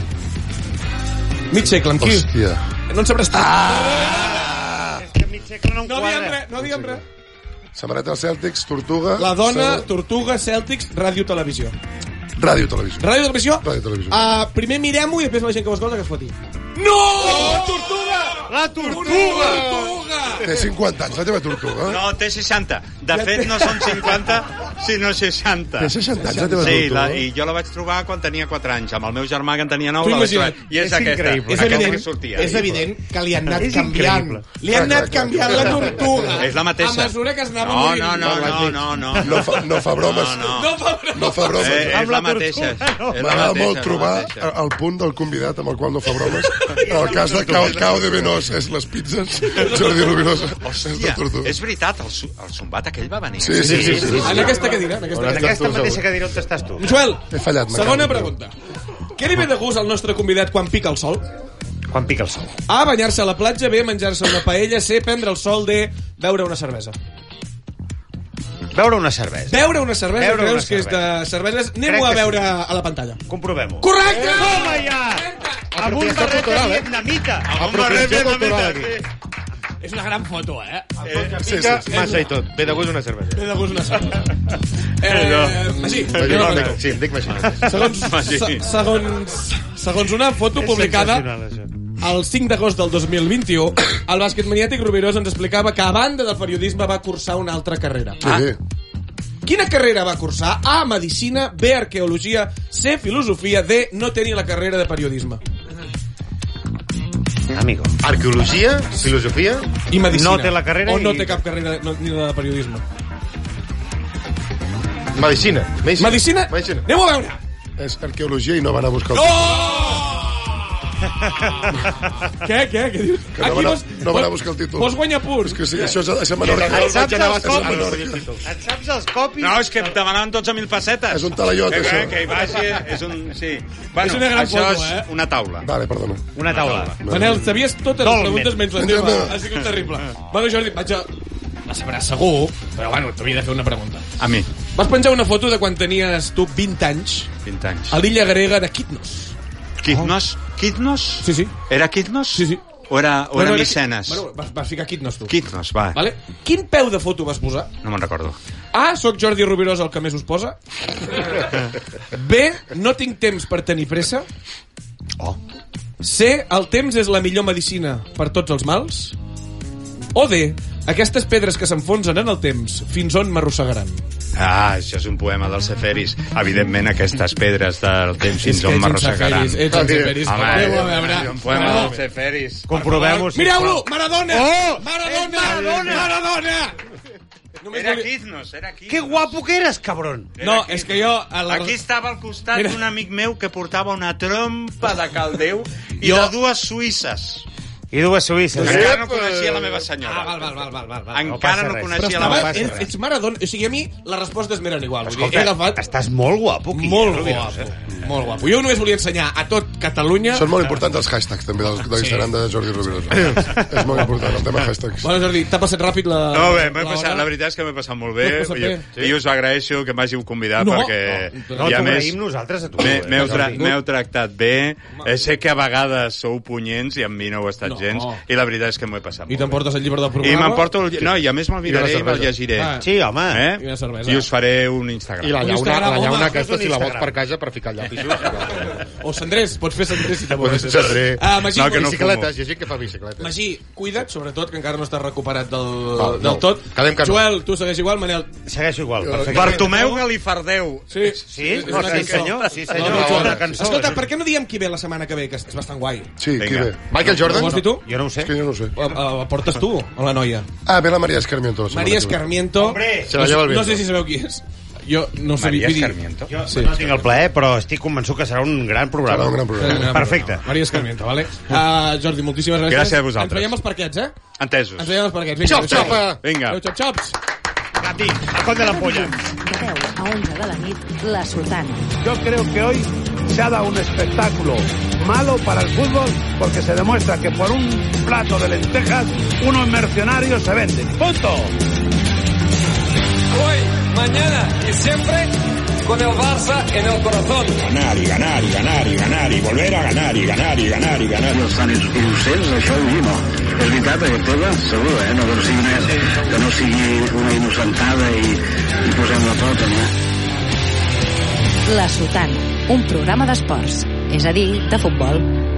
S4: Mig segle, amb qui?
S2: Hòstia.
S4: No en sabràs tant.
S6: Que mig segle no em
S4: No diguem
S6: quadra.
S4: res, no diguem res.
S2: Samareta dels Celtics, Tortuga...
S4: La dona,
S2: Cel-
S4: Tortuga, Celtics, Ràdio Televisió.
S2: Ràdio Televisió.
S4: Ràdio Televisió?
S2: Ràdio Televisió.
S4: Uh, primer mirem-ho i després la gent que ho escolta que es foti.
S6: La tortuga!
S2: Té 50 anys, la teva Tortuga.
S7: No, té 60. De fet, no són 50, sinó 60.
S2: Té 60 anys, la teva
S7: Sí, la,
S2: Tortuga.
S7: i jo la vaig trobar quan tenia 4 anys. Amb el meu germà, que en tenia 9,
S4: Tu
S7: la vaig trobar.
S4: imagina't.
S7: I és,
S6: És
S7: aquesta.
S6: increïble.
S4: És
S7: aquesta
S4: evident,
S7: que sortia.
S4: és evident que li han anat
S6: És
S4: canviant.
S6: increïble.
S4: Li han
S2: Clar, clar,
S4: anat
S2: clar.
S4: canviant la tortuga.
S7: És la mateixa.
S4: A mesura que es anava
S7: no,
S4: morint.
S7: no, no, no, no, no.
S2: No fa, no fa bromes.
S7: No, no.
S4: No, pobre.
S2: No fa bromes.
S7: Eh,
S2: Eh,
S7: és la mateixa.
S6: no.
S7: és la
S2: M'agrada
S7: mateixa, és
S2: molt
S7: la
S2: trobar eh,
S7: mateixa.
S2: el punt del convidat amb el qual no fa
S7: *laughs*
S2: bromes. En el cas de Cao, Cao de Venós és les pizzas, Jordi Rovirosa és la
S7: Hòstia,
S2: Tortuga.
S7: és veritat, el, su- el zumbat aquell va venir.
S2: Sí, sí, sí. sí, sí.
S4: En aquesta cadira, en aquesta
S6: En
S4: cadira.
S6: aquesta mateixa cadira on estàs tu.
S4: Joel,
S2: He fallat, m'acabo.
S4: segona pregunta. Què li ve de gust al nostre convidat quan pica el sol?
S6: Quan pica el sol.
S4: A, banyar-se a la platja, B, menjar-se una paella, C, prendre el sol, D, beure una cervesa.
S6: Veure una cervesa.
S4: Beure una cervesa,
S6: Beure una
S4: creus que és de cerveses? Anem-ho
S6: Crec
S4: a
S6: que sí. Eh,
S4: veure a la pantalla.
S6: Comprovem-ho.
S4: Correcte!
S6: Toma ja! Amb un
S3: Apropiació
S6: barret de
S3: cultural, eh?
S6: vietnamita.
S3: Apropiació cultural, aquí.
S4: És una gran foto, eh?
S3: Sí, sí. Massa i tot. Ve de gust una cervesa.
S4: Ve de gust una cervesa. Eh, sí,
S3: Magic, Sí, em dic Magic.
S4: Segons,
S6: *laughs*
S4: se- segons, segons una foto publicada el 5 d'agost del 2021, el bàsquet maniàtic Rubirós ens explicava que a banda del periodisme va cursar una altra carrera.
S6: Ah.
S2: Sí.
S4: Quina carrera va cursar? A, Medicina, B, Arqueologia, C, Filosofia, D, no tenir la carrera de periodisme.
S6: Amigo.
S3: Arqueologia, filosofia...
S4: I Medicina.
S6: No té la carrera
S4: O no
S6: i-
S4: té cap carrera de- no, ni la de periodisme.
S3: Medicina. Medicina.
S4: Medicina?
S3: Medicina.
S4: Anem-ho a veure.
S6: *laughs*
S2: És arqueologia i no van a buscar el
S4: Oh! Què, què, què dius?
S2: Que no van a- no van a buscar el títol.
S4: Vols guanyar punts?
S2: És que sí, això és, això és Menorca.
S6: Et saps els
S2: a
S6: copis?
S2: Menorca.
S6: Et saps els copis?
S7: No, és que em demanaven 12.000 pessetes.
S2: És un talaiot,
S7: que,
S2: això.
S7: Que hi vagi, és un... Sí. Bueno,
S4: una gran
S7: això
S4: foto,
S7: és
S4: eh?
S7: una taula.
S2: Vale, perdona.
S6: Una taula.
S4: Manel, sabies totes les
S6: Dolmen.
S4: preguntes menys la
S2: Menys la
S4: teva.
S2: meva.
S4: Ha sigut terrible. Bueno, Jordi, vaig a... La sabràs segur, però bueno, t'havia de fer una pregunta.
S7: A mi,
S4: Vas penjar una foto de quan tenies tu 20 anys
S7: 20 anys.
S4: a l'illa grega de Kitnos.
S7: Kitnos? Kitnos?
S4: Oh. Sí, sí.
S7: Era Kitnos?
S4: Sí, sí.
S7: O era, o era
S4: Bueno,
S7: Micenes?
S4: Bueno, vas, vas ficar Kitnos, tu.
S7: Kitnos, va.
S4: Vale? Quin peu de foto vas posar?
S7: No me'n recordo.
S4: A, Ah, sóc Jordi Rubirós el que més us posa. B, no tinc temps per tenir pressa.
S7: Oh.
S4: C, el temps és la millor medicina per tots els mals. O D, aquestes pedres que s'enfonsen en el temps, fins on m'arrossegaran.
S7: Ah, això és un poema del Ceferis. Evidentment, aquestes pedres
S4: Ah,
S7: del temps fins on m'arrossegaran.
S4: Ets en Seferis.
S7: Home, eh,
S4: Déu, a veure.
S7: és un poema del Ceferis.
S6: Comprovem-ho, sisplau.
S4: Mireu-lo! Maradona!
S6: Oh!
S4: Maradona!
S6: És Maradona!
S4: Maradona! Només
S7: Era
S4: volia-
S7: Kitnos, era Kitnos.
S6: Que guapo que eres, cabron.
S4: No, és que jo... A la...
S7: Aquí estava al costat
S4: Mira.
S7: d'un amic meu que portava una trompa de caldeu i
S4: Jo-
S7: de dues suïsses.
S6: I dues suïsses.
S7: Encara no coneixia la meva senyora.
S4: Ah, val, val, val, val, val. val.
S7: Encara
S6: passa
S7: no
S6: res.
S4: Però
S7: coneixia la
S4: estava,
S7: meva senyora.
S4: ets, ets Maradona. O sigui, a mi les respostes m'eren igual. Vull dir, he
S6: Escolta,
S4: agafat...
S6: estàs molt guapo, Quim.
S4: Molt
S6: Rubiós,
S4: guapo,
S6: eh?
S4: molt guapo. Jo només volia ensenyar a tot Catalunya...
S2: Són molt importants els hashtags, també, dels- de l'Instagram de Jordi Rovirosa. És molt important, el tema hashtags.
S4: Bueno, Jordi, t'ha passat ràpid la...
S7: No, bé, m'he
S4: la
S7: passat,
S4: hora?
S7: la veritat és que m'he passat molt bé.
S4: M'he passat
S7: jo,
S4: bé.
S7: I us agradeixo que m'hàgiu convidat
S4: No,
S7: perquè...
S4: no,
S6: No,
S7: i a
S6: t'ho
S7: més,
S6: agraïm nosaltres a tu.
S7: m'he-
S6: eh,
S7: m'heu tra
S6: Jordi.
S7: m'heu tractat bé. Eh, sé que a vegades sou punyents i amb mi no ho he estat
S4: No.
S7: gens. I la veritat és que m'ho he passat
S4: I
S7: molt bé.
S4: t'emportes el llibre del
S7: I
S4: programa?
S7: m'emporto... El... No, i a més me'l miraré i me'l
S3: cervesa.
S7: llegiré.
S4: Ah.
S6: Sí, home.
S7: Eh?
S4: I una cervesa.
S7: I us faré un Instagram.
S3: I la
S4: Un
S3: llauna,
S4: Instagram,
S3: la
S4: home,
S3: llauna
S6: fes
S3: aquesta,
S6: un
S3: si la vols
S6: Instagram.
S3: per casa, per ficar llapisos.
S4: O Sendrés, pots fer Sendrés si
S3: Pues
S4: t'avorres.
S3: és André.
S4: Ah, Magí,
S7: No,
S4: no,
S7: que no
S3: Bicicletes, hi ha gent que fa bicicletes.
S4: Magí, cuida't, sobretot, que encara no estàs recuperat del,
S3: Val,
S4: del
S3: no.
S4: tot.
S3: Quedem que no.
S4: Joel, tu segueix igual, Manel.
S6: Segueixo igual. perfecte.
S7: Bartomeu Galifardeu.
S4: Sí.
S6: Sí?
S4: És
S6: No,
S4: una
S6: sí,
S4: cançó.
S6: senyor. Sí,
S4: No,
S6: senyor.
S4: no, Joel.
S6: Una cançó.
S4: Escolta, per què no diem qui ve la setmana que ve, que és bastant guai?
S2: Sí, qui
S7: Vinga.
S2: ve?
S3: Michael
S4: Ho vols
S3: Jordan?
S4: dir tu?
S6: Jo no ho sé.
S2: És que jo no ho sé.
S4: La, la portes tu, o la noia?
S2: Ah, ve la Maria Escarmiento. la setmana
S4: Maria
S2: que ve.
S4: Escarmiento.
S3: Se la lleva el
S4: No sé
S3: viento.
S4: si sabeu qui és. Jo no ho
S7: Maria
S4: sabia. vull dir-
S7: Escarmiento.
S6: Jo
S4: Sí.
S6: no tinc el plaer, però estic convençut que serà un gran programa.
S2: Serà un gran programa.
S6: Perfecte.
S4: Maria Escarmiento, vale? Uh, Jordi, moltíssimes gràcies.
S7: Gràcies a vosaltres.
S4: Ens veiem els parquets, eh?
S7: Entesos.
S4: Ens veiem els parquets. Vinga,
S3: Xop,
S4: adéu-siau.
S3: xapa.
S7: Vinga.
S4: Adéu, xop, xops.
S6: Gati, a coll de la polla.
S5: De 10 a 11 de la nit, La Sotana.
S10: Yo creo que hoy se ha dado un espectáculo malo para el fútbol porque se demuestra que por un plato de lentejas unos mercenarios se venden. ¡Punto!
S11: ganar y ganar y ganar y ganar y volver a ganar y ganar y ganar y ganar. No estan innocents, això ho diu, no. És veritat, aquest tema, segur, eh? No, que no sigui una, que no sigui una innocentada i, i posem la pota, no?
S5: La Sotana, un programa d'esports, és a dir, de futbol.